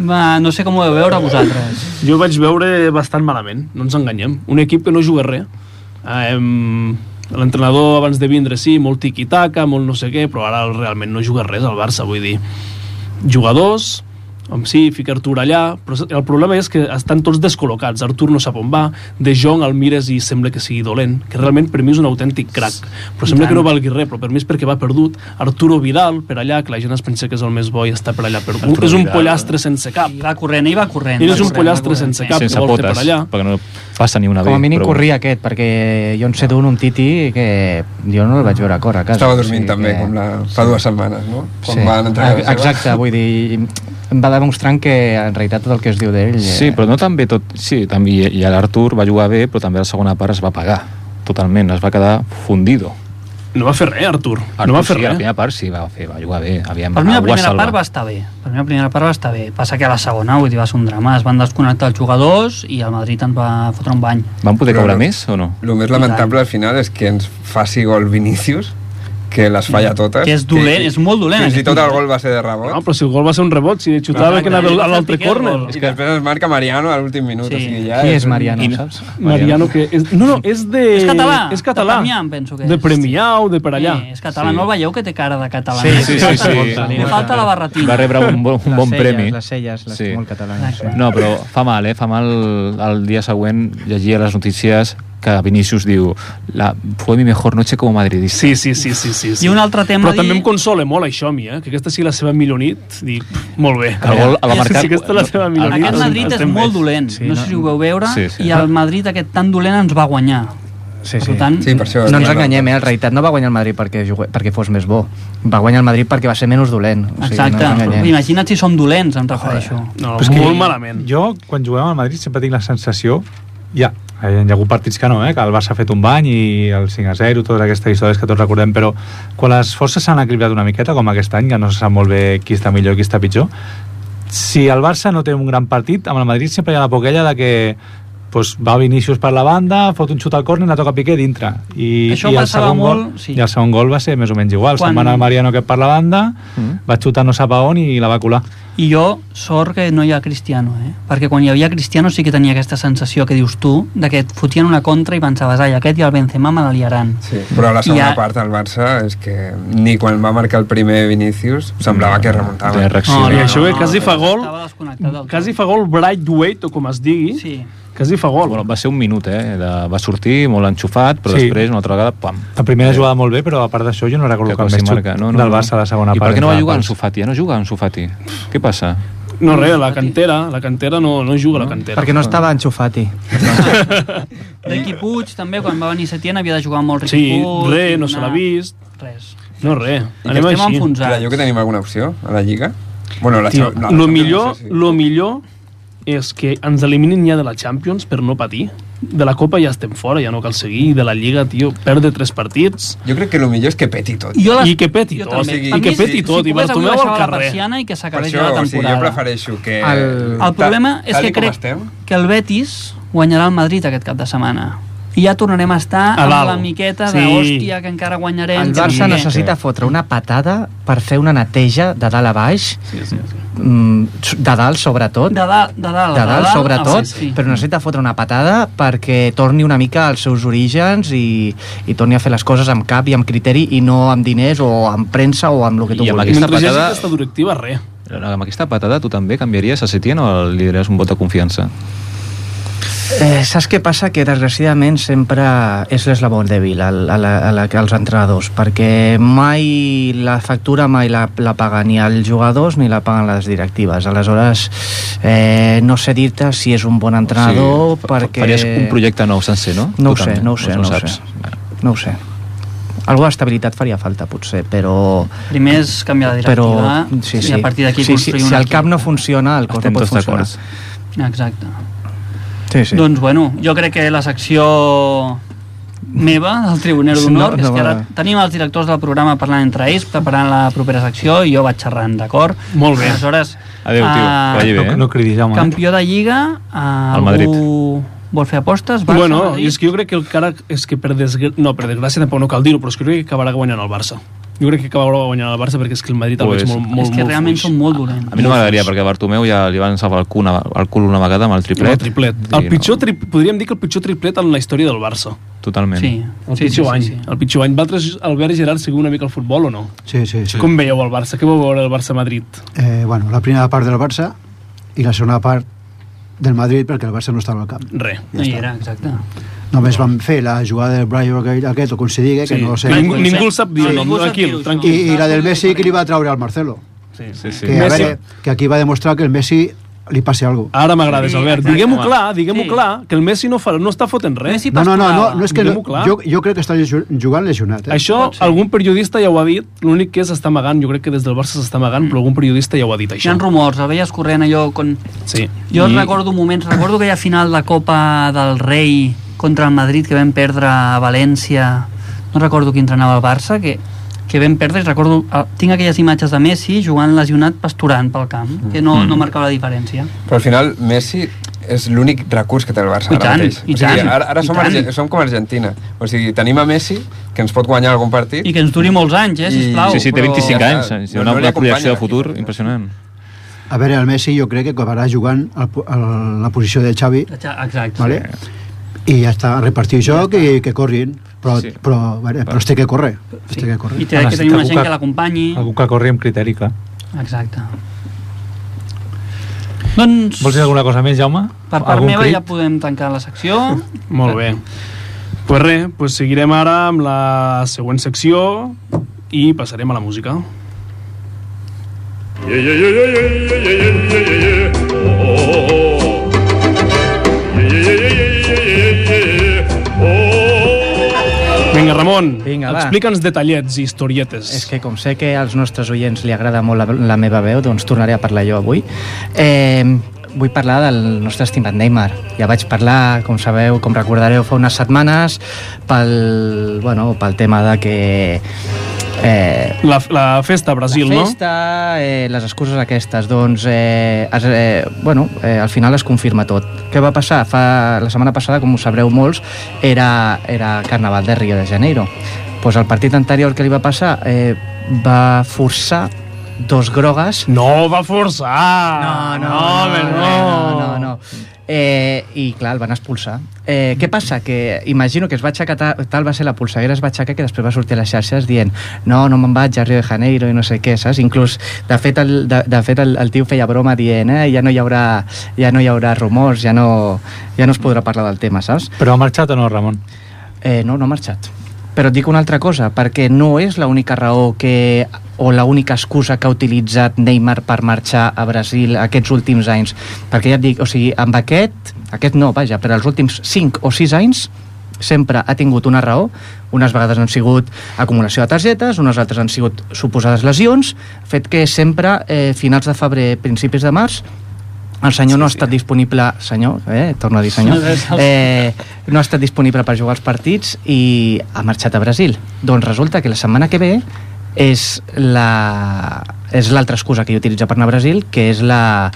[SPEAKER 3] Va, no sé com ho veu veure vosaltres.
[SPEAKER 2] Jo ho vaig veure bastant malament, no ens enganyem. Un equip que no juga res. Ah, em... L'entrenador abans de vindre, sí, molt tiqui-taca, molt no sé què, però ara realment no juga res al Barça, vull dir. Jugadors, amb sí, fica Artur allà, però el problema és que estan tots descol·locats. Artur no sap on va, De Jong el mires i sembla que sigui dolent, que realment per mi és un autèntic crac. Però
[SPEAKER 3] I
[SPEAKER 2] sembla que
[SPEAKER 3] tant.
[SPEAKER 2] no valgui res, però per mi és perquè va perdut. Arturo Vidal, per allà, que la gent es pensa que és el més bo i està per allà perdut.
[SPEAKER 5] Arturo
[SPEAKER 2] és un
[SPEAKER 5] Vidal,
[SPEAKER 2] pollastre sense cap.
[SPEAKER 3] I va corrent, i va corrent.
[SPEAKER 2] Ell és
[SPEAKER 3] va
[SPEAKER 2] un
[SPEAKER 3] corrent, va
[SPEAKER 2] pollastre
[SPEAKER 3] corrent.
[SPEAKER 2] sense cap, que
[SPEAKER 5] sense
[SPEAKER 2] vol fer
[SPEAKER 5] potes,
[SPEAKER 2] per allà.
[SPEAKER 5] perquè no passa ni una
[SPEAKER 2] Com a
[SPEAKER 5] bé,
[SPEAKER 2] mínim
[SPEAKER 5] però-
[SPEAKER 12] corria aquest, perquè jo en sé d'un un titi que jo no el vaig veure a córrer a casa.
[SPEAKER 1] Estava dormint també, que... com la, fa dues setmanes, no? Quan van
[SPEAKER 12] Ah,
[SPEAKER 1] entrar a casa seva.
[SPEAKER 12] Exacte, vull dir, em va demostrant que en realitat tot el que es diu d'ell...
[SPEAKER 5] Sí, però no també tot... Sí, també, i- i l'Artur va jugar bé, però també la segona part es va pagar totalment, es va quedar fundido.
[SPEAKER 2] No va fer res, Artur.
[SPEAKER 5] Artur
[SPEAKER 2] no va fer
[SPEAKER 5] sí,
[SPEAKER 2] res.
[SPEAKER 5] La primera part sí, va, fer, va jugar bé. Aviam,
[SPEAKER 3] Per mi la
[SPEAKER 5] Mm, algú a
[SPEAKER 3] primera
[SPEAKER 5] salvar.
[SPEAKER 3] part va estar bé. Per mi la primera part va estar bé. Passa que a la segona, vull dir, va ser un drama. Es van desconnectar els jugadors i el Madrid ens va fotre un bany.
[SPEAKER 5] Van poder
[SPEAKER 1] Però
[SPEAKER 5] cobrar
[SPEAKER 1] no.
[SPEAKER 5] més o no?
[SPEAKER 1] El més lamentable al final és que ens faci gol Vinícius, que les falla totes.
[SPEAKER 3] Que és dolent, és molt dolent, eh?
[SPEAKER 1] Fins i
[SPEAKER 3] aquest
[SPEAKER 1] tot el
[SPEAKER 3] tio.
[SPEAKER 1] gol va ser de rebot.
[SPEAKER 2] No, però si el gol va ser un rebot, si xutava que anava a l'altre córner.
[SPEAKER 1] I després es marca Mariano a l'últim minut. Sí. O sigui, ja un-
[SPEAKER 2] saps? Mariano, que... És, no, no, és de...
[SPEAKER 3] És català,
[SPEAKER 2] És català.
[SPEAKER 3] de Premià, em penso que
[SPEAKER 2] De
[SPEAKER 3] és.
[SPEAKER 2] Premià o de per allà.
[SPEAKER 3] Sí, és català, sí. no el veieu que té cara de català?
[SPEAKER 2] Sí, sí, sí, sí.
[SPEAKER 3] Li falta la barretina.
[SPEAKER 5] Va rebre un, bon, un bon
[SPEAKER 12] celles,
[SPEAKER 5] premi.
[SPEAKER 12] les celles, les molt catalanes.
[SPEAKER 5] No, però fa mal, eh? Fa mal el dia següent llegir a les notícies que Vinícius diu la, fue mi mejor noche como madridista.
[SPEAKER 2] Sí, sí, sí, sí, sí, sí.
[SPEAKER 5] I un
[SPEAKER 3] altre
[SPEAKER 2] Però també em consola molt això a mi, eh? que aquesta sigui la seva millor nit. Dic, pff, molt bé.
[SPEAKER 5] Que el gol el va marcar-
[SPEAKER 2] Sí, aquesta és la seva millor nit.
[SPEAKER 3] Aquest Madrid és
[SPEAKER 2] estem bé.
[SPEAKER 3] molt dolent, sí, no, sé si ho veu veure,
[SPEAKER 12] Sí, sí.
[SPEAKER 3] i el Madrid aquest tan dolent ens va guanyar.
[SPEAKER 12] Sí,
[SPEAKER 3] Per tant,
[SPEAKER 12] no ens enganyem, eh? en realitat no va guanyar el Madrid perquè, jugué, perquè fos més bo. Va guanyar el Madrid perquè va ser menys dolent. O sigui,
[SPEAKER 3] Exacte.
[SPEAKER 12] No ens enganyem.
[SPEAKER 3] Imagina't si som dolents, em refereixo.
[SPEAKER 2] No,
[SPEAKER 4] Però és que Jo, quan juguem al Madrid, sempre tinc la sensació... Ja, hi ha hagut partits que no, eh? que el Barça ha fet un bany i el 5 a 0, totes aquestes històries que tots recordem, però quan les forces s'han equilibrat una miqueta, com aquest any, que no se sap molt bé qui està millor i qui està pitjor, si el Barça no té un gran partit, amb el Madrid sempre hi ha la poquella de que pues va Vinícius per la banda, fot un xut al córner, la toca Piqué dintre. I,
[SPEAKER 3] Això
[SPEAKER 4] i el
[SPEAKER 3] passava
[SPEAKER 4] segon gol,
[SPEAKER 3] molt, sí.
[SPEAKER 4] I el segon gol va ser més o menys igual.
[SPEAKER 3] Quan-
[SPEAKER 4] Quan... Se'n va anar Mariano que per la banda, mm. va xutar no sap a on i la va colar.
[SPEAKER 3] I jo, sort que no hi ha Cristiano, eh? Perquè quan hi havia Cristiano sí que tenia aquesta sensació que dius tu, de que et fotien una contra i pensaves, ai, aquest i el Benzema me la liaran.
[SPEAKER 1] Sí, Però la segona
[SPEAKER 3] I a-
[SPEAKER 1] part del Barça és que ni quan va marcar el primer Vinícius semblava que remuntava.
[SPEAKER 2] Oh, No, no, I això que quasi fa gol... Quasi fa gol Braithwaite, o com es digui.
[SPEAKER 3] Sí.
[SPEAKER 2] Quasi fa gol.
[SPEAKER 5] Bueno, va ser un minut, eh? De, va sortir molt enxufat, però
[SPEAKER 4] Sí.
[SPEAKER 5] sí. després una altra vegada, pam.
[SPEAKER 4] La primera jugada molt bé, però a part d'això jo no recordo cap
[SPEAKER 5] quasi
[SPEAKER 4] més xut
[SPEAKER 5] marca. No, no,
[SPEAKER 4] del
[SPEAKER 5] no.
[SPEAKER 4] Barça a la segona
[SPEAKER 5] I
[SPEAKER 4] part.
[SPEAKER 5] per què no va
[SPEAKER 4] entre
[SPEAKER 5] jugar en
[SPEAKER 4] altres.
[SPEAKER 5] Sufati? Ja no juga en Sufati. Què passa?
[SPEAKER 2] No, res, la cantera, la cantera no, no juga la cantera.
[SPEAKER 6] Perquè no estava enxufat-hi.
[SPEAKER 3] Riqui Puig, també, quan va venir Setién havia de jugar molt Riqui
[SPEAKER 2] Sí,
[SPEAKER 3] Puig.
[SPEAKER 2] res, no
[SPEAKER 3] una-
[SPEAKER 2] se l'ha vist.
[SPEAKER 3] Res.
[SPEAKER 2] No, res.
[SPEAKER 1] I
[SPEAKER 2] Anem
[SPEAKER 1] que
[SPEAKER 2] així.
[SPEAKER 1] estem enfonsats. Creieu que tenim alguna opció a la Lliga? Bueno, la
[SPEAKER 2] Tio,
[SPEAKER 1] Cha- no, la
[SPEAKER 2] lo
[SPEAKER 1] Champions
[SPEAKER 2] millor, lo millor és que ens eliminin ja de la Champions per no patir. De la Copa ja estem fora, ja no cal seguir. I de la Lliga, tio, perdre tres partits...
[SPEAKER 1] Jo crec que el millor és que peti tot.
[SPEAKER 3] Jo les-
[SPEAKER 2] I que peti
[SPEAKER 3] jo
[SPEAKER 2] tot.
[SPEAKER 3] també.
[SPEAKER 2] I
[SPEAKER 3] Per
[SPEAKER 2] que
[SPEAKER 3] mi,
[SPEAKER 2] peti
[SPEAKER 3] si-
[SPEAKER 2] tot.
[SPEAKER 3] si
[SPEAKER 2] I
[SPEAKER 3] pogués, avui
[SPEAKER 2] Bartomeu al
[SPEAKER 3] baixava la
[SPEAKER 2] carrer.
[SPEAKER 3] persiana i que s'acabés
[SPEAKER 1] Per
[SPEAKER 3] ja la
[SPEAKER 1] o sigui,
[SPEAKER 3] temporada.
[SPEAKER 1] jo prefereixo que...
[SPEAKER 3] El, el problema és
[SPEAKER 1] tal
[SPEAKER 3] que
[SPEAKER 1] i com
[SPEAKER 3] crec
[SPEAKER 1] estem,
[SPEAKER 3] que el Betis guanyarà el Madrid aquest cap de setmana. I ja tornarem a estar
[SPEAKER 6] A
[SPEAKER 3] amb
[SPEAKER 6] dalt.
[SPEAKER 3] la miqueta de
[SPEAKER 6] Sí.
[SPEAKER 3] hòstia que encara guanyarem.
[SPEAKER 6] El
[SPEAKER 3] que no
[SPEAKER 6] Barça
[SPEAKER 3] sé què.
[SPEAKER 6] necessita fotre una patada per fer una neteja de dalt a baix, sí, sí, sí. de dalt sobretot,
[SPEAKER 3] De dalt, de dalt,
[SPEAKER 6] de
[SPEAKER 3] de
[SPEAKER 6] dalt
[SPEAKER 3] dalt,
[SPEAKER 6] sobretot,
[SPEAKER 3] ah, sí, sí.
[SPEAKER 6] però necessita fotre una patada perquè torni una mica als seus orígens i, i torni a fer les coses amb cap i amb criteri i no amb diners o amb premsa o amb el que tu
[SPEAKER 5] I amb
[SPEAKER 6] vulguis.
[SPEAKER 5] aquesta Mentre hi hagi patada- aquesta
[SPEAKER 2] directiva, res.
[SPEAKER 5] Amb aquesta patada tu també canviaries a Setién o li daries un vot de confiança?
[SPEAKER 6] Eh, saps què passa? Que desgraciadament sempre és l'eslabó dèbil al, al, al, als entrenadors perquè mai la factura mai la, la paga ni els jugadors ni la paguen les directives aleshores eh, no sé dir-te si és un bon entrenador sí, perquè...
[SPEAKER 5] Faries un projecte nou sencer, no?
[SPEAKER 6] No ho
[SPEAKER 5] Tu
[SPEAKER 6] sé,
[SPEAKER 5] també,
[SPEAKER 6] no ho sé,
[SPEAKER 5] doncs
[SPEAKER 6] no ho
[SPEAKER 5] saps.
[SPEAKER 6] sé. No ho sé. Alguna estabilitat faria falta, potser, però...
[SPEAKER 3] Primer és canviar la
[SPEAKER 6] Però,
[SPEAKER 3] directiva
[SPEAKER 6] sí,
[SPEAKER 3] i
[SPEAKER 6] sí.
[SPEAKER 3] a partir d'aquí
[SPEAKER 6] sí, sí,
[SPEAKER 3] construir
[SPEAKER 6] Si
[SPEAKER 3] un
[SPEAKER 6] el
[SPEAKER 3] equip.
[SPEAKER 6] cap no funciona, el cos
[SPEAKER 5] Estem
[SPEAKER 6] no pot
[SPEAKER 5] tots
[SPEAKER 6] funcionar.
[SPEAKER 5] d'acord.
[SPEAKER 3] Exacte.
[SPEAKER 6] Sí, sí.
[SPEAKER 3] Doncs, bueno, jo crec que la secció meva, del Tribunero
[SPEAKER 6] No,
[SPEAKER 3] d'Honor,
[SPEAKER 6] no
[SPEAKER 3] és que ara
[SPEAKER 6] va.
[SPEAKER 3] tenim els directors del programa parlant entre ells, preparant la propera secció, i jo vaig xerrant, d'acord?
[SPEAKER 2] Molt bé.
[SPEAKER 3] Aleshores,
[SPEAKER 4] Adéu, tio.
[SPEAKER 3] ah,
[SPEAKER 4] Que vagi bé, eh? No cridis, Jaume.
[SPEAKER 3] Campió de Lliga, ah,
[SPEAKER 4] Al Madrid.
[SPEAKER 3] algú vol fer apostes? Barça,
[SPEAKER 2] Bueno,
[SPEAKER 3] Madrid?
[SPEAKER 2] i és que jo crec que el cara és que per desgra... no, per desgràcia tampoc no cal dir-ho, però és que jo crec que acabarà guanyant el Barça. Jo crec que acabarà guanyant el Barça perquè és que el Madrid el
[SPEAKER 5] Pues,
[SPEAKER 2] veig molt,
[SPEAKER 5] és
[SPEAKER 2] molt,
[SPEAKER 3] és que
[SPEAKER 2] molt
[SPEAKER 3] realment són molt dolents.
[SPEAKER 5] A mi no m'agradaria, perquè a Bartomeu ja li van salvar el cul una, el cul una vegada amb el triplet.
[SPEAKER 2] El triplet.
[SPEAKER 5] I
[SPEAKER 2] El pitjor, tri... podríem dir que el pitjor triplet en la història del Barça.
[SPEAKER 5] No, totalment.
[SPEAKER 2] El pitjor any. El pitjor any. Vosaltres, Albert i Gerard, seguiu una mica el futbol o no?
[SPEAKER 11] Sí, sí, sí.
[SPEAKER 2] Com veieu el Barça? Què vau veure el Barça-Madrid?
[SPEAKER 11] Eh, bueno, la primera part del Barça i la segona part del Madrid perquè el Barça no estava al camp.
[SPEAKER 2] Res.
[SPEAKER 3] Ja hi era, exacte.
[SPEAKER 11] Només van fer la jugada del Brian O'Gale aquest, o com se digui, que
[SPEAKER 2] Sí.
[SPEAKER 11] no sé...
[SPEAKER 2] Ningú- ningú el sap dir, no,
[SPEAKER 11] ningú
[SPEAKER 2] tranquil,
[SPEAKER 11] sap dir-ho,
[SPEAKER 2] tranquil.
[SPEAKER 11] I, I la del Messi que li va treure al Marcelo.
[SPEAKER 2] Sí, sí,
[SPEAKER 11] Que, a veure, que aquí va demostrar que el Messi li passi alguna cosa.
[SPEAKER 2] Ara m'agrades,
[SPEAKER 11] Sí,
[SPEAKER 2] Albert.
[SPEAKER 11] exacte.
[SPEAKER 2] Diguem-ho clar, diguem-ho clar, que el Messi no, fa, no està fotent res.
[SPEAKER 11] No, no, no, no, no és que no,
[SPEAKER 2] Diguem-ho clar.
[SPEAKER 11] jo, jo crec que està llegio- jugant lesionat. Eh?
[SPEAKER 2] Això, algun periodista ja ho ha dit, l'únic que s'està amagant, jo crec que des del Barça s'està amagant, però algun periodista ja ho ha dit,
[SPEAKER 3] Hi ha
[SPEAKER 2] això.
[SPEAKER 3] rumors, el veies corrent allò... Con...
[SPEAKER 2] Sí.
[SPEAKER 3] Jo I... recordo moments, recordo aquella final de Copa del Rei contra el Madrid que vam perdre a València, no recordo qui entrenava el Barça, que, que vam perdre i recordo, eh, tinc aquelles imatges de Messi jugant lesionat pasturant pel camp, que no, no marcava la diferència.
[SPEAKER 1] Però al final Messi és l'únic recurs que té el Barça
[SPEAKER 3] I
[SPEAKER 1] ara
[SPEAKER 3] tant,
[SPEAKER 1] mateix.
[SPEAKER 3] i
[SPEAKER 1] o sigui,
[SPEAKER 3] tant,
[SPEAKER 1] ara, ara
[SPEAKER 3] i
[SPEAKER 1] som,
[SPEAKER 3] tant.
[SPEAKER 1] Arge- som com Argentina. O sigui, tenim a Messi, que ens pot guanyar algun partit...
[SPEAKER 3] I que ens duri molts anys, eh, sisplau.
[SPEAKER 5] Sí, sí, té 25
[SPEAKER 1] Ja
[SPEAKER 5] anys.
[SPEAKER 1] està,
[SPEAKER 5] Sí,
[SPEAKER 1] no-
[SPEAKER 5] una,
[SPEAKER 1] no li
[SPEAKER 5] una
[SPEAKER 1] acompanyen
[SPEAKER 5] projecció de futur impressionant.
[SPEAKER 11] A veure, el Messi jo crec que acabarà jugant al, po- al, la posició de Xavi,
[SPEAKER 3] Exacte.
[SPEAKER 11] vale? i ja està, repartir joc i que corrin. Però, sí. però, bueno, però es té que córrer. Es té que córrer.
[SPEAKER 3] I té que tenir una gent que l'acompanyi.
[SPEAKER 4] Algú que corri amb criteri, clar.
[SPEAKER 3] Exacte. Doncs...
[SPEAKER 4] Vols dir alguna cosa més, Jaume?
[SPEAKER 3] Per part
[SPEAKER 4] Algun
[SPEAKER 3] meva
[SPEAKER 4] crit?
[SPEAKER 3] ja podem tancar la secció.
[SPEAKER 2] Molt bé. Pues res, pues seguirem ara amb la següent secció i passarem a la música.
[SPEAKER 9] Oh. Oh.
[SPEAKER 2] Vinga, Ramon,
[SPEAKER 6] Vinga, va.
[SPEAKER 2] explica'ns detallets i historietes.
[SPEAKER 6] És que com sé que als nostres oients li agrada molt la, la meva veu, doncs tornaré a parlar jo avui. Eh, vull parlar del nostre estimat Neymar. Ja vaig parlar, com sabeu, com recordareu, fa unes setmanes pel, bueno, pel tema de que... Eh,
[SPEAKER 2] la, la festa a Brasil,
[SPEAKER 6] la festa, no? eh, les excuses aquestes, doncs, eh, es, eh, bueno, eh, al final es confirma tot. Què va passar? Fa, la setmana passada, com ho sabreu molts, era, era Carnaval de Rio de Janeiro. Pues el partit anterior que li va passar eh, va forçar dos grogues.
[SPEAKER 2] No, va forçar!
[SPEAKER 6] No, no, no, home, no. no, no, no. Eh, I clar, el van expulsar. Eh, què passa? Que imagino que es va aixecar, ta- tal va ser la polseguera, es va aixecar que després va sortir a les xarxes dient no, no me'n vaig a Rio de Janeiro i no sé què, saps? Inclús, de fet, el, de, de fet, el, el tio feia broma dient eh, ja no hi haurà, ja no hi haurà rumors, ja no, ja no es podrà parlar del tema, saps?
[SPEAKER 4] Però ha marxat o no, Ramon?
[SPEAKER 6] Eh, no, no ha marxat. Però et dic una altra cosa, perquè no és l'única raó que o l'única excusa que ha utilitzat Neymar per marxar a Brasil aquests últims anys. Perquè ja et dic, o sigui, amb aquest, aquest no, vaja, però els últims 5 o 6 anys sempre ha tingut una raó, unes vegades han sigut acumulació de targetes, unes altres han sigut suposades lesions, fet que sempre eh, finals de febrer, principis de març, el senyor no ha estat disponible, senyor, eh, torno a dir senyor, eh, no ha estat disponible per jugar als partits i ha marxat a Brasil. Doncs resulta que la setmana que ve és la és l'altra excusa que ell utilitza per anar a Brasil, que és la-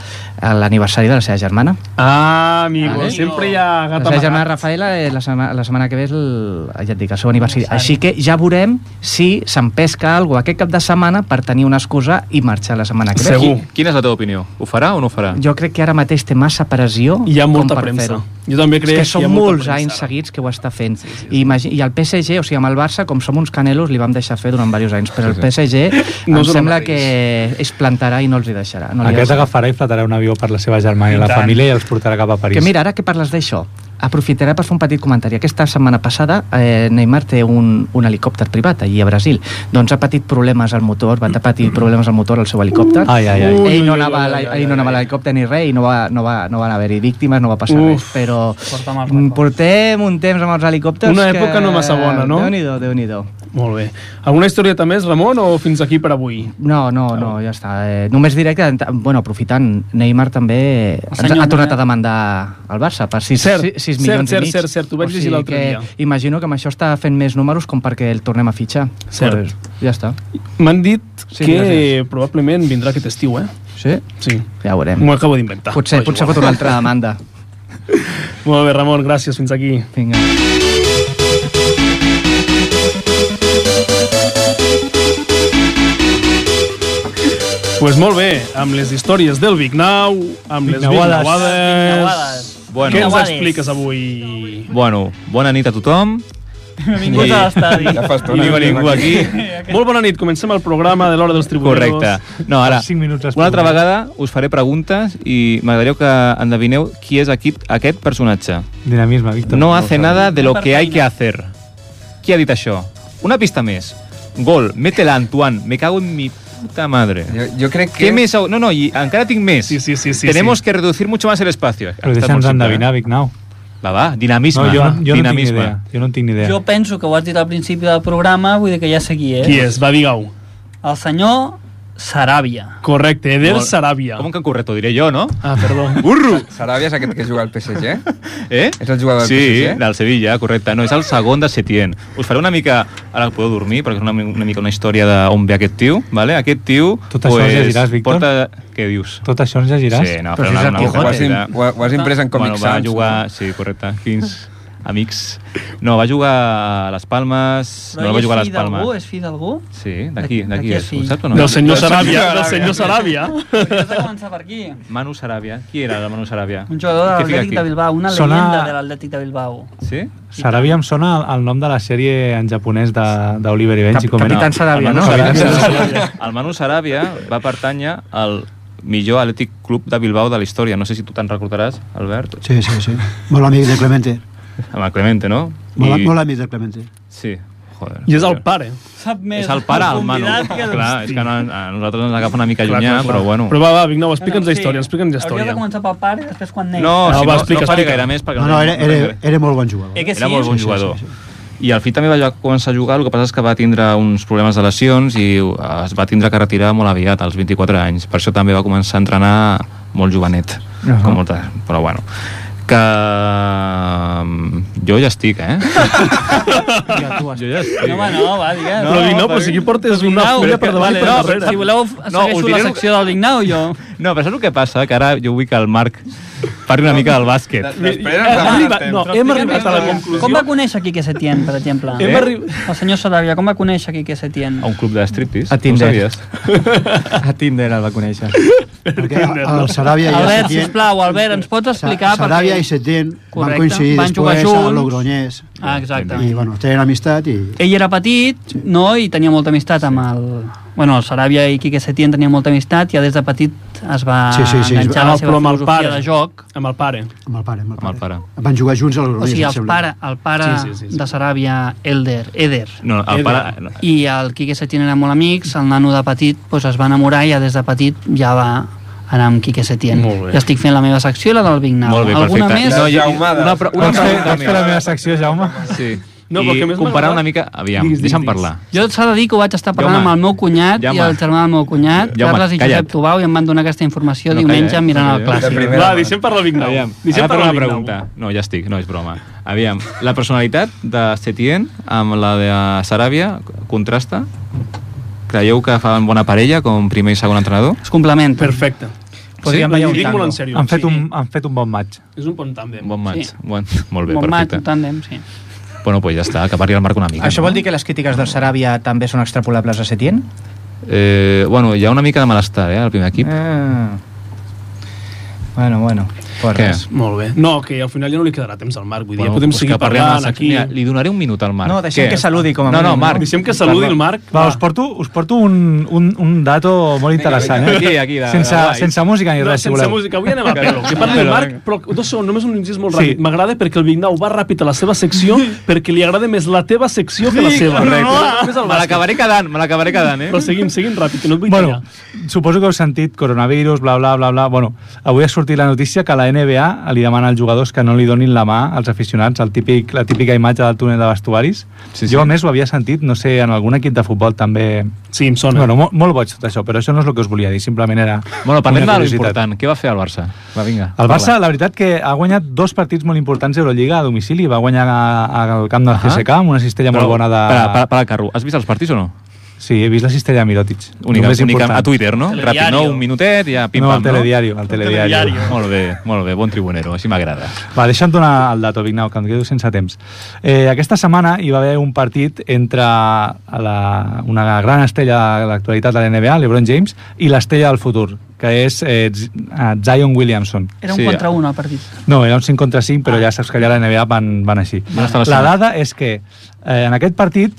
[SPEAKER 6] l'aniversari de la seva germana.
[SPEAKER 2] Ah, amigo,
[SPEAKER 6] Vale.
[SPEAKER 2] sempre hi ha
[SPEAKER 6] La
[SPEAKER 2] gat
[SPEAKER 6] seva
[SPEAKER 2] amagat.
[SPEAKER 6] germana Rafaela eh, la setmana, la setmana que ve és el, ja et dic, el seu aniversari. Així que ja veurem si s'empesca alguna aquest cap de setmana per tenir una excusa i marxar la setmana que ve.
[SPEAKER 5] Qui- Quina és la teva opinió? Ho farà o no ho farà?
[SPEAKER 6] Jo crec que ara mateix té massa pressió
[SPEAKER 5] Hi ha
[SPEAKER 6] com
[SPEAKER 5] molta
[SPEAKER 6] per
[SPEAKER 5] premsa.
[SPEAKER 6] fer-ho.
[SPEAKER 5] Jo també crec
[SPEAKER 6] És que
[SPEAKER 5] que hi
[SPEAKER 6] són
[SPEAKER 5] ha molta
[SPEAKER 6] molts
[SPEAKER 5] premsa
[SPEAKER 6] anys seguits que ho està fent. Sí, sí, I, imagi- I el PSG, o sigui, amb el Barça, com som uns canelos, li vam deixar fer durant diversos anys, però el PSG
[SPEAKER 4] No
[SPEAKER 6] no em
[SPEAKER 4] és el
[SPEAKER 6] sembla que es plantarà i no els hi deixarà. No li
[SPEAKER 4] No Aquest
[SPEAKER 6] deixarà.
[SPEAKER 4] agafarà i flatarà un avió per la seva germana i
[SPEAKER 6] I
[SPEAKER 4] la
[SPEAKER 6] tant.
[SPEAKER 4] família i els portarà cap a París.
[SPEAKER 6] Que mira, ara que parles d'això, aprofitaré per fer un petit comentari. Aquesta setmana passada eh, Neymar té un, un helicòpter privat allí a Brasil. Doncs ha patit problemes al motor, va patir problemes al motor al seu helicòpter.
[SPEAKER 4] Ai, ai, ai.
[SPEAKER 6] Ell no anava, a la- ell no anava a l'helicòpter ni res i no, va, no, va, no van haver-hi víctimes, no va passar res,
[SPEAKER 2] Uf.
[SPEAKER 6] però portem un temps amb els helicòpters
[SPEAKER 2] Una
[SPEAKER 6] que-
[SPEAKER 2] època no massa bona, no?
[SPEAKER 6] Déu-n'hi-do, déu nhi déu
[SPEAKER 2] Molt bé. Alguna historieta més, Ramon, o fins aquí per avui?
[SPEAKER 6] No, no, no, ja està. Eh, només diré que, bueno, aprofitant, Neymar també ens
[SPEAKER 2] senyor
[SPEAKER 6] ha tornat
[SPEAKER 2] Neymar.
[SPEAKER 6] a demandar al Barça per 6,
[SPEAKER 2] Cert,
[SPEAKER 6] 6
[SPEAKER 2] cert,
[SPEAKER 6] milions
[SPEAKER 2] cert,
[SPEAKER 6] i mig.
[SPEAKER 2] cert, cert, ho vaig llegir l'altre
[SPEAKER 6] que
[SPEAKER 2] dia.
[SPEAKER 6] Imagino que amb això està fent més números com perquè el tornem a fitxar.
[SPEAKER 2] Cert.
[SPEAKER 6] Pues, ja està.
[SPEAKER 2] M'han dit
[SPEAKER 6] Sí,
[SPEAKER 2] que
[SPEAKER 6] gràcies.
[SPEAKER 2] probablement vindrà aquest estiu, eh?
[SPEAKER 6] Sí?
[SPEAKER 2] Sí.
[SPEAKER 6] Ja veurem.
[SPEAKER 2] M'ho acabo d'inventar.
[SPEAKER 6] Potser, potser fot una altra demanda.
[SPEAKER 2] Molt bé, Ramon, gràcies. Fins aquí.
[SPEAKER 6] Vinga.
[SPEAKER 2] Pues molt bé, amb les històries del Big Now, amb les Big
[SPEAKER 5] Vignauades.
[SPEAKER 2] Nauades...
[SPEAKER 5] Bueno.
[SPEAKER 2] Què ens
[SPEAKER 5] Vignauades.
[SPEAKER 2] expliques avui?
[SPEAKER 5] Bueno, bona nit a tothom.
[SPEAKER 2] Benvinguts
[SPEAKER 5] I-
[SPEAKER 2] a l'estadi. Ja fa
[SPEAKER 5] I
[SPEAKER 2] estona que estem
[SPEAKER 5] benvingut aquí.
[SPEAKER 2] aquí. Molt bona nit, comencem el programa de l'Hora dels Tribuneros.
[SPEAKER 5] Correcte. No, ara,
[SPEAKER 2] Cinc minuts després.
[SPEAKER 5] una altra vegada us faré preguntes i m'agradaria que endevineu qui és aquí, aquest personatge.
[SPEAKER 2] Doncs
[SPEAKER 4] Dinamisme, Víctor.
[SPEAKER 5] No hace nada de lo que hay que hacer. Qui ha dit això? Una pista més. Gol, métela, Antoine, me cago en mi puta madre. Yo,
[SPEAKER 1] yo creo
[SPEAKER 5] que... Què més? hau- No, no, i encara tinc més. Sí,
[SPEAKER 2] sí, sí.
[SPEAKER 5] Tenemos que reducir mucho más el espacio.
[SPEAKER 4] Però deixa'ns endevinar, Vignau.
[SPEAKER 5] Va, va, dinamisme.
[SPEAKER 4] No, jo, jo no tinc ni
[SPEAKER 5] dinamisme.
[SPEAKER 4] idea. Jo no en tinc ni idea.
[SPEAKER 3] Jo penso que ho has dit al principi del programa, vull dir que ja sé qui és.
[SPEAKER 2] Qui és? Va, digue-ho.
[SPEAKER 3] El senyor Saràbia.
[SPEAKER 2] Correcte, Eder
[SPEAKER 5] Molt.
[SPEAKER 2] Sarabia.
[SPEAKER 5] Com que en correcto diré jo, no?
[SPEAKER 2] Ah, perdó.
[SPEAKER 5] Burro!
[SPEAKER 1] Saràbia és aquest que juga al PSG?
[SPEAKER 5] Eh?
[SPEAKER 1] És el jugador del
[SPEAKER 5] sí,
[SPEAKER 1] PSG?
[SPEAKER 5] del Sevilla, correcte. No, és el segon de Setién. Us faré una mica... Ara podeu dormir, perquè és una, mi- una mica una història d'on ve aquest tio, ¿vale? Aquest tio...
[SPEAKER 4] Tot això ens llegiràs, Víctor?
[SPEAKER 5] Porta... Què dius?
[SPEAKER 4] Tot això ens llegiràs?
[SPEAKER 5] Sí, no, però, una, una,
[SPEAKER 1] Ho has, im, ho, ha- ho has imprès en Comic
[SPEAKER 5] bueno, va
[SPEAKER 1] Sans,
[SPEAKER 5] jugar...
[SPEAKER 1] no?
[SPEAKER 5] Sí, correcte. Quins amics... No, va jugar a les Palmes...
[SPEAKER 3] Però
[SPEAKER 5] no, no va
[SPEAKER 3] ell
[SPEAKER 5] jugar a
[SPEAKER 3] és
[SPEAKER 5] les
[SPEAKER 3] fill d'algú?
[SPEAKER 5] Palmes.
[SPEAKER 3] És fill d'algú?
[SPEAKER 5] Sí, d'aquí, d'aquí és.
[SPEAKER 3] fill.
[SPEAKER 5] Ho saps o no?
[SPEAKER 2] Del senyor Sarabia, del senyor Sarabia.
[SPEAKER 3] Has de començar per aquí.
[SPEAKER 5] Manu Sarabia. Qui era el Manu Sarabia?
[SPEAKER 3] Un jugador de
[SPEAKER 5] Què fica
[SPEAKER 3] l'Atlètic de
[SPEAKER 5] aquí?
[SPEAKER 3] Bilbao, una
[SPEAKER 4] Sona-
[SPEAKER 3] leyenda de l'Atlètic de Bilbao.
[SPEAKER 5] Sí?
[SPEAKER 4] Sarabia em sona el, el nom de la sèrie en japonès de- d'Oliver i Benji. com era?
[SPEAKER 5] Capitán
[SPEAKER 4] El
[SPEAKER 5] Manu
[SPEAKER 4] Manu
[SPEAKER 5] Sarabia. El Manu Sarabia va pertànyer al millor Atlètic Club de Bilbao de la història. No sé si tu te'n recordaràs, Albert,
[SPEAKER 11] Sí, sí, sí. Molt amic de Clemente.
[SPEAKER 5] amb el Clemente, no?
[SPEAKER 11] Molt, molt amic de Clemente.
[SPEAKER 5] Sí. Joder.
[SPEAKER 2] I és el pare.
[SPEAKER 3] Sap més.
[SPEAKER 5] És el pare, el Manu.
[SPEAKER 3] convidat que el-
[SPEAKER 5] Clar, és que no, a nosaltres ens agafa una mica
[SPEAKER 2] Clar,
[SPEAKER 5] llunyà,
[SPEAKER 2] clar, clar.
[SPEAKER 5] però bueno.
[SPEAKER 2] Però va, va, Vignau, explica'ns la història, explica'ns la
[SPEAKER 3] Hauria de
[SPEAKER 2] història.
[SPEAKER 3] començar pel pare i després quan neix.
[SPEAKER 5] No, si no,
[SPEAKER 2] va,
[SPEAKER 5] no,
[SPEAKER 2] explica,
[SPEAKER 5] faré
[SPEAKER 2] explica.
[SPEAKER 5] gaire més perquè
[SPEAKER 11] No, no, era, era, era molt bon jugador.
[SPEAKER 3] Eh que sí?
[SPEAKER 5] Era molt bon
[SPEAKER 3] Sí, sí,
[SPEAKER 5] jugador. I al fi també va començar a jugar, el que passa és que va tindre uns problemes de uh, lesions i es va tindre que retirar molt aviat, als 24 anys. Per això també va començar a entrenar molt jovenet, uh
[SPEAKER 6] Ahà.
[SPEAKER 5] -huh. com moltes, però bueno que mm, jo ja estic, eh?
[SPEAKER 6] jo
[SPEAKER 5] ja estic.
[SPEAKER 3] No, home, no, va, digues.
[SPEAKER 5] No, dic, no, però si aquí
[SPEAKER 2] portes
[SPEAKER 5] una fulla per davant i per
[SPEAKER 3] no,
[SPEAKER 5] darrere.
[SPEAKER 3] Si voleu,
[SPEAKER 5] No,
[SPEAKER 3] segueixo
[SPEAKER 5] us diré
[SPEAKER 3] la
[SPEAKER 5] el que-
[SPEAKER 3] secció del Dignau, jo.
[SPEAKER 5] No, però saps el que passa? Que ara jo vull que el Marc parli una mica del bàsquet.
[SPEAKER 3] Hem arribat- no, hem arribat a la
[SPEAKER 5] conclusió.
[SPEAKER 3] Com va conèixer Quique Setién, per exemple? Eh?
[SPEAKER 5] Hem arri-
[SPEAKER 3] El senyor Sarabia, com va conèixer Quique Setién?
[SPEAKER 5] A un club de striptease.
[SPEAKER 6] A Tinder.
[SPEAKER 5] No ho sabies?
[SPEAKER 6] A Tinder el va conèixer.
[SPEAKER 11] Perquè eh? el Sarabia i el
[SPEAKER 3] Albert,
[SPEAKER 11] Setién-
[SPEAKER 3] sisplau, Albert, ens pots explicar... per
[SPEAKER 11] Sarabia
[SPEAKER 3] què-
[SPEAKER 11] i Setién van
[SPEAKER 3] Correcte,
[SPEAKER 11] coincidir
[SPEAKER 3] van jugar
[SPEAKER 11] després a
[SPEAKER 3] junts.
[SPEAKER 11] Logroñés.
[SPEAKER 3] Ah, exacte.
[SPEAKER 11] I, bueno, tenen amistat i...
[SPEAKER 3] Ell era petit, no?, i tenia molta amistat amb el... Bueno, el Sarabia i Quique Setién tenien molta amistat, ja des de petit es va
[SPEAKER 11] Sí, sí, sí, es
[SPEAKER 3] enganxar a
[SPEAKER 11] va- ah,
[SPEAKER 3] la seva
[SPEAKER 11] però amb el
[SPEAKER 3] filosofia
[SPEAKER 11] pare.
[SPEAKER 3] de joc.
[SPEAKER 2] Amb el pare.
[SPEAKER 11] Amb el pare, amb el pare.
[SPEAKER 5] El pare.
[SPEAKER 11] Van jugar junts a
[SPEAKER 3] O
[SPEAKER 11] Logroñés,
[SPEAKER 3] sigui,
[SPEAKER 11] em
[SPEAKER 3] el
[SPEAKER 11] sembla.
[SPEAKER 3] pare, el pare sí, sí, sí, sí. de Saràbia, Elder, Eder.
[SPEAKER 5] No, el pare... no.
[SPEAKER 3] I el Quique Setién eren molt amics, el nano de petit doncs, es va enamorar i ja des de petit ja va anar amb Quique Setién.
[SPEAKER 5] Molt bé.
[SPEAKER 3] Ja estic fent la meva secció i la del Vignau.
[SPEAKER 5] Molt bé,
[SPEAKER 3] Alguna
[SPEAKER 5] perfecte.
[SPEAKER 3] més?
[SPEAKER 5] No, jo- una pre- una
[SPEAKER 4] Pots fer,
[SPEAKER 5] pregunta
[SPEAKER 4] pots fer la
[SPEAKER 5] més.
[SPEAKER 4] meva secció, Jaume?
[SPEAKER 5] Sí.
[SPEAKER 3] No,
[SPEAKER 5] No,
[SPEAKER 3] però que
[SPEAKER 5] I
[SPEAKER 3] més
[SPEAKER 5] comparar
[SPEAKER 3] m'agrada-
[SPEAKER 5] una mica... Aviam,
[SPEAKER 3] Diguis, diguis,
[SPEAKER 5] deixa'm
[SPEAKER 3] diguis.
[SPEAKER 5] parlar.
[SPEAKER 3] Jo s'ha de dir que ho vaig estar parlant
[SPEAKER 5] Jaume,
[SPEAKER 3] amb el meu cunyat
[SPEAKER 5] Jaume.
[SPEAKER 3] i el germà del meu cunyat,
[SPEAKER 5] Jaume,
[SPEAKER 3] Carles i
[SPEAKER 5] calla't.
[SPEAKER 3] Josep Tubau, i em van donar aquesta informació
[SPEAKER 5] No,
[SPEAKER 3] diumenge
[SPEAKER 5] calla, eh?
[SPEAKER 3] mirant
[SPEAKER 5] No,
[SPEAKER 3] el
[SPEAKER 5] calla. De
[SPEAKER 3] clàssic.
[SPEAKER 5] primera.
[SPEAKER 2] Va, deixem parlar Vignau.
[SPEAKER 5] Aviam,
[SPEAKER 2] Deixem
[SPEAKER 5] ara per
[SPEAKER 2] parlar
[SPEAKER 5] una
[SPEAKER 2] Vignau.
[SPEAKER 5] pregunta. No, ja estic, no, és broma. Aviam, la personalitat de Setien amb la de Saràbia contrasta? Creieu que fan bona parella com primer i segon entrenador?
[SPEAKER 3] Es complementa.
[SPEAKER 2] Perfecte.
[SPEAKER 5] Podríem ballar un
[SPEAKER 2] dic
[SPEAKER 5] tango.
[SPEAKER 2] molt en sèrio.
[SPEAKER 5] Han fet un-
[SPEAKER 4] Han fet un bon match.
[SPEAKER 2] És un bon tàndem.
[SPEAKER 5] Bon match.
[SPEAKER 2] Sí.
[SPEAKER 5] Sí. Bon, molt bé,
[SPEAKER 3] Bon maig,
[SPEAKER 5] perfecte.
[SPEAKER 3] un tàndem, sí.
[SPEAKER 5] Bueno, pues ja està, que parli el Marc una mica.
[SPEAKER 6] Això vol dir que les crítiques del Saràbia també són extrapolables a Setién?
[SPEAKER 5] Eh, bueno, hi ha una mica de malestar, eh, al primer equip.
[SPEAKER 6] Ah. Bueno, bueno.
[SPEAKER 5] Què?
[SPEAKER 2] Molt bé. No, que al final ja no li quedarà temps al Marc, vull dir,
[SPEAKER 5] Bueno,
[SPEAKER 2] ja podem
[SPEAKER 5] pues
[SPEAKER 2] seguir
[SPEAKER 5] que parlem
[SPEAKER 2] parlant
[SPEAKER 5] de la
[SPEAKER 2] aquí.
[SPEAKER 5] secció. Mira, li donaré un minut al Marc.
[SPEAKER 6] No, deixem
[SPEAKER 5] Què?
[SPEAKER 6] que saludi com a
[SPEAKER 5] No, no,
[SPEAKER 6] mínim, no?
[SPEAKER 5] Marc.
[SPEAKER 2] Deixem que saludi el Marc.
[SPEAKER 4] Va, us porto, us porto un, un, un dato molt interessant, eh?
[SPEAKER 5] Aquí, aquí, de-
[SPEAKER 4] sense,
[SPEAKER 5] guai.
[SPEAKER 4] sense música ni
[SPEAKER 2] No,
[SPEAKER 4] res, si
[SPEAKER 2] sense
[SPEAKER 4] voleu.
[SPEAKER 2] música, avui anem a pelo. Que parli el
[SPEAKER 4] Però,
[SPEAKER 2] Marc, però dos segons, només un incís molt ràpid. M'agrada perquè el Vignau va ràpid a la seva secció perquè li agrada més la teva secció que la
[SPEAKER 4] Sí,
[SPEAKER 2] seva.
[SPEAKER 4] correcte.
[SPEAKER 2] Més el
[SPEAKER 5] Me
[SPEAKER 2] bàsquet.
[SPEAKER 5] l'acabaré quedant, me l'acabaré quedant, eh?
[SPEAKER 2] Però seguim, seguim ràpid, que no et vull
[SPEAKER 4] Bueno,
[SPEAKER 2] tallar.
[SPEAKER 4] suposo que heu sentit coronavirus, bla, bla, bla, bla. Bueno, avui ha sortit la notícia que la NBA li demana als jugadors que no li donin la mà als aficionats, el típic, la típica imatge del túnel de vestuaris.
[SPEAKER 5] Sí, sí.
[SPEAKER 4] Jo, a més, ho havia sentit, no sé, en algun equip de futbol també...
[SPEAKER 2] Sí, em sona.
[SPEAKER 4] Bueno, molt, molt boig tot això, però això no és el que us volia dir, simplement era
[SPEAKER 5] Bueno, parlem
[SPEAKER 4] una
[SPEAKER 5] de
[SPEAKER 4] curiositat.
[SPEAKER 5] l'important. Què va fer el Barça? Va, vinga.
[SPEAKER 4] El Barça, la veritat que ha guanyat dos partits molt importants d'Eurolliga a domicili. Va guanyar a- al camp del
[SPEAKER 5] Ahà.
[SPEAKER 4] CSK amb una cistella molt bona de...
[SPEAKER 5] Para, para, para el carro. Has vist els partits o no?
[SPEAKER 4] Sí, he vist la cistella de Mirotic.
[SPEAKER 5] Única,
[SPEAKER 4] Només
[SPEAKER 5] única
[SPEAKER 4] important.
[SPEAKER 5] a Twitter, no?
[SPEAKER 2] Telediario.
[SPEAKER 5] Ràpid, no? Un minutet, ja
[SPEAKER 4] No,
[SPEAKER 5] pim-pam,
[SPEAKER 4] al telediario, al telediario. telediario.
[SPEAKER 5] Molt bé, molt bé, bon tribunero, així m'agrada.
[SPEAKER 4] Va, deixa'm donar el dato, Vignau, que em quedo sense temps. Eh, aquesta setmana hi va haver un partit entre la, una gran estella de l'actualitat de la NBA, l'Ebron James, i l'estella del futur, que és eh, Z- eh, Zion Williamson.
[SPEAKER 3] Era un
[SPEAKER 5] Sí.
[SPEAKER 3] contra un al partit.
[SPEAKER 4] No, era un 5 contra 5, però ja saps que allà a la NBA van, van així.
[SPEAKER 5] Van
[SPEAKER 4] La
[SPEAKER 5] estar lesionats.
[SPEAKER 4] dada és que eh, en aquest partit,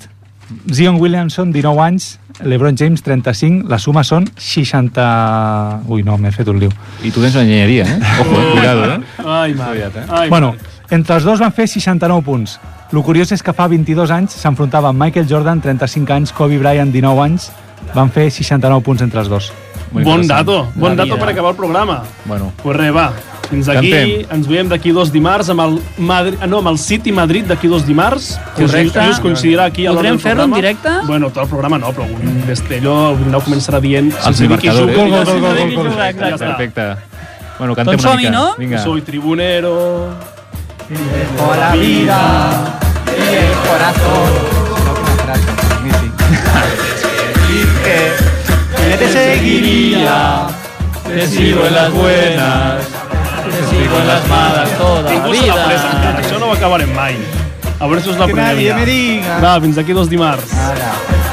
[SPEAKER 4] Zion Williamson, 19 anys, LeBron James, 35, la suma són 60... Ui, no, m'he fet un liu.
[SPEAKER 5] I tu tens l'enginyeria, eh? Ojo, eh? cuidado, eh?
[SPEAKER 2] Ai, Marc. Ai,
[SPEAKER 4] bueno, entre els dos van fer 69 punts. Lo curiós és que fa 22 anys s'enfrontaven Michael Jordan, 35 anys, Kobe Bryant, 19 anys, van fer 69 punts entre els dos.
[SPEAKER 5] Molt
[SPEAKER 2] Bon
[SPEAKER 5] interessant.
[SPEAKER 2] dato, bon
[SPEAKER 5] La
[SPEAKER 2] dato
[SPEAKER 5] vida.
[SPEAKER 2] per acabar el programa.
[SPEAKER 5] Bueno,
[SPEAKER 2] Pues res, va, fins aquí,
[SPEAKER 5] Cantem.
[SPEAKER 2] ens veiem d'aquí dos dimarts amb el, Madri... ah, no, amb el City Madrid d'aquí dos dimarts, que us,
[SPEAKER 3] Correcte.
[SPEAKER 2] us coincidirà aquí a l'hora
[SPEAKER 3] Podrem
[SPEAKER 2] del
[SPEAKER 3] fer-lo
[SPEAKER 2] programa.
[SPEAKER 3] en directe?
[SPEAKER 2] Bueno, tot el programa no, però un d'estello, el Brindau començarà dient...
[SPEAKER 5] Els marcadores.
[SPEAKER 2] Gol, gol,
[SPEAKER 5] Gol, gol,
[SPEAKER 2] gol,
[SPEAKER 5] gol,
[SPEAKER 2] gol,
[SPEAKER 5] gol.
[SPEAKER 2] Ja està.
[SPEAKER 5] perfecte. Bueno, cantem
[SPEAKER 3] Doncs
[SPEAKER 5] una
[SPEAKER 3] som-hi,
[SPEAKER 5] mica.
[SPEAKER 3] no?
[SPEAKER 5] Vinga.
[SPEAKER 2] Soy tribunero...
[SPEAKER 6] Te seguiría,
[SPEAKER 5] Te sigo en las buenas, te sigo en las malas toda
[SPEAKER 2] Ningú se l'ha pres encara, això no ho acabarem mai. A veure si us la
[SPEAKER 6] que nadie
[SPEAKER 2] primera.
[SPEAKER 6] me diga.
[SPEAKER 2] Va, fins aquí dos dimarts.
[SPEAKER 6] Ara.